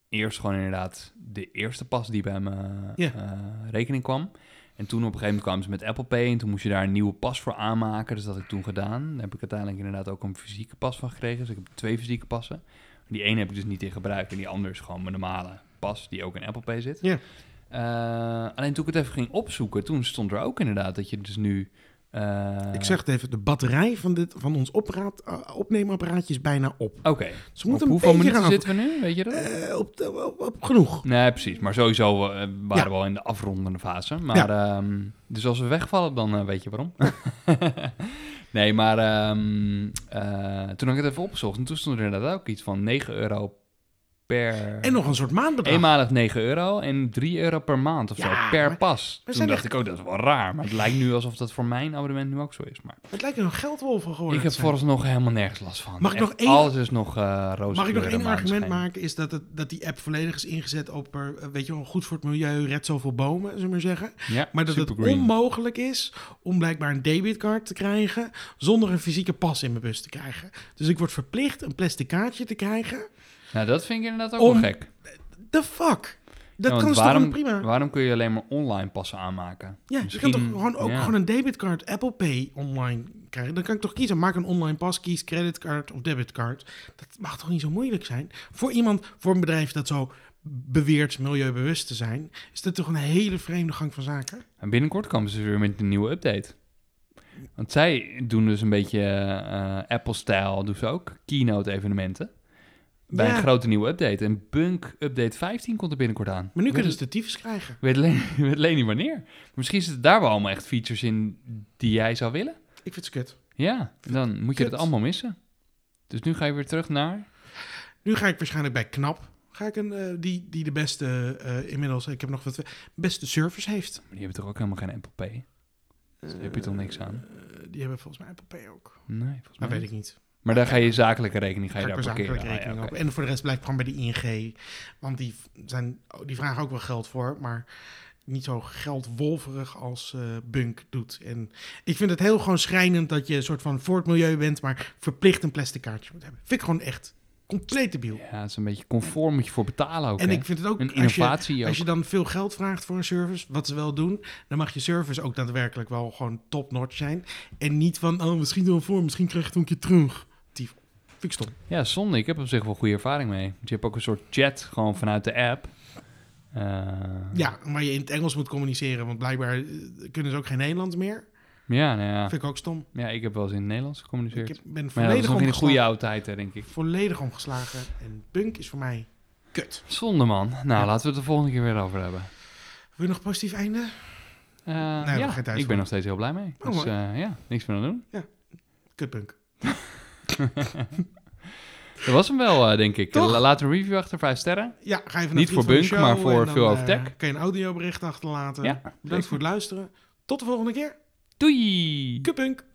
eerst gewoon inderdaad de eerste pas die bij mijn Ja. eh, rekening kwam. En toen op een gegeven moment kwamen ze met Apple Pay. En toen moest je daar een nieuwe pas voor aanmaken. Dus dat had ik toen gedaan. Daar heb ik uiteindelijk inderdaad ook een fysieke pas van gekregen. Dus ik heb twee fysieke passen. Die ene heb ik dus niet in gebruik. En die andere is gewoon mijn normale pas. Die ook in Apple Pay zit. Ja. Eh, alleen toen ik het even ging opzoeken. Toen stond er ook inderdaad dat je dus nu... eh, Ik zeg het even, de batterij van, dit, van ons opraad, eh, opneemapparaatje is bijna op. Oké. Ze moeten Op een hoeveel beetje minuten gaan zitten we nu? Weet je dat? Eh, op, de- op, op genoeg. Nee, precies. Maar sowieso eh, waren Ja. we al in de afrondende fase. Maar, ehm, dus als we wegvallen, dan eh, weet je waarom. nee, maar ehm, eh, toen had ik het even opgezocht. En toen stond er inderdaad ook iets van 9 euro per... En nog een soort maandbedrag. Eenmalig 9 euro en 3 euro per maand of Ja, zo, per maar- pas. we Toen zijn dacht echt- ik ook, dat is wel raar. Maar het lijkt nu alsof dat voor mijn abonnement nu ook zo is. Maar Het lijkt een geldwolf geworden. ik heb te zijn. vooralsnog helemaal nergens last van. Mag ik Echt, nog één- Alles is nog eh roze Mag ik nog kleuren, één argument maneschijn. maken? Is dat, het, dat die app volledig is ingezet op, er, eh, weet je wel, goed voor het milieu, red zoveel bomen, zullen we maar zeggen. Ja, Maar dat het supergreen. onmogelijk is om blijkbaar een debitcard te krijgen zonder een fysieke pas in mijn bus te krijgen. Dus ik word verplicht een plastic kaartje te krijgen. Nou, dat vind ik inderdaad ook Om- wel gek. The fuck? Dat Ja, want kan ze waarom, toch gewoon prima? Waarom kun je alleen maar online passen aanmaken? Ja, Misschien- je kan toch gewoon ook ja. gewoon een debitcard Apple Pay online krijgen. Dan kan ik toch kiezen, maak een online pas, kies creditcard of debitcard. Dat mag toch niet zo moeilijk zijn? Voor iemand, voor een bedrijf dat zo beweert milieubewust te zijn, is dat toch een hele vreemde gang van zaken? En binnenkort komen ze weer met een nieuwe update. Want zij doen dus een beetje eh, Apple-stijl, doen ze ook keynote-evenementen. Bij Ja. een grote nieuwe update. En Bunk Update 15 komt er binnenkort aan. Maar nu Ik weet- kunnen ze de tyfus krijgen. ik weet alleen, ik weet alleen niet wanneer. Misschien zitten daar wel allemaal echt features in die jij zou willen. Ik vind het kut. Ja, en dan moet je Kut. dat allemaal missen. Dus nu ga je weer terug naar... Nu ga ik waarschijnlijk bij Knap. Ga ik een, eh, die, die de beste, eh, inmiddels, ik heb nog wat, beste service heeft. Maar die hebben toch ook helemaal geen Apple Pay? Dus daar heb je toch niks aan? Eh, die hebben volgens mij Apple Pay ook. Nee, volgens mij Dat weet niet. ik niet. Maar daar ga je zakelijke rekening ga je Ga ik per daar zakelijke parkeren. rekening Ah, ja, op. oké. En voor de rest blijf ik gewoon bij de ING. Want die, v- zijn, oh, die vragen ook wel geld voor, maar niet zo geldwolverig als eh, Bunk doet. En ik vind het heel gewoon schrijnend dat je een soort van voor het milieu bent, maar verplicht een plastic kaartje moet hebben. Vind ik gewoon echt compleet debiel. Ja, het is een beetje conform moet je voor betalen ook. En hè? ik vind het ook, een als je, innovatie ook. als je dan veel geld vraagt voor een service, wat ze wel doen, dan mag je service ook daadwerkelijk wel gewoon top-notch zijn. En niet van, oh, misschien wel voor, misschien krijg je het ook een keer terug. Dief. Vind ik stom. Ja, zonde. Ik heb op zich wel goede ervaring mee. Want je hebt ook een soort chat gewoon vanuit de app. Eh, Ja, maar je in het Engels moet communiceren, want blijkbaar eh, kunnen ze ook geen Nederlands meer. Ja, nou ja. Vind ik ook stom. ja, ik heb wel eens in het Nederlands Ik gecommuniceerd. heb- ben maar ja, dat is volledig nog in de goede omgeslagen. oude tijd, hè, denk ik. Volledig omgeslagen. En punk is voor mij kut. Zonde, man. Nou, Ja. laten we het de volgende keer weer over hebben. Wil je nog positief einde? Eh, hebben we ja, geen tijd ik voor. ben nog steeds heel blij mee. Oh, dus mooi. eh, ja, niks meer aan doen. Kutpunk. Dat was hem wel, eh, denk ik. Toch? La- Laat een review achter vijf sterren. Ja, ga even naar Niet Vriend voor van de Bunk, Show maar voor en dan, Veel eh, Over Tech. Kan je een audiobericht achterlaten. Ja, Bedankt voor het luisteren. Tot de volgende keer. Doei! Kutpunk.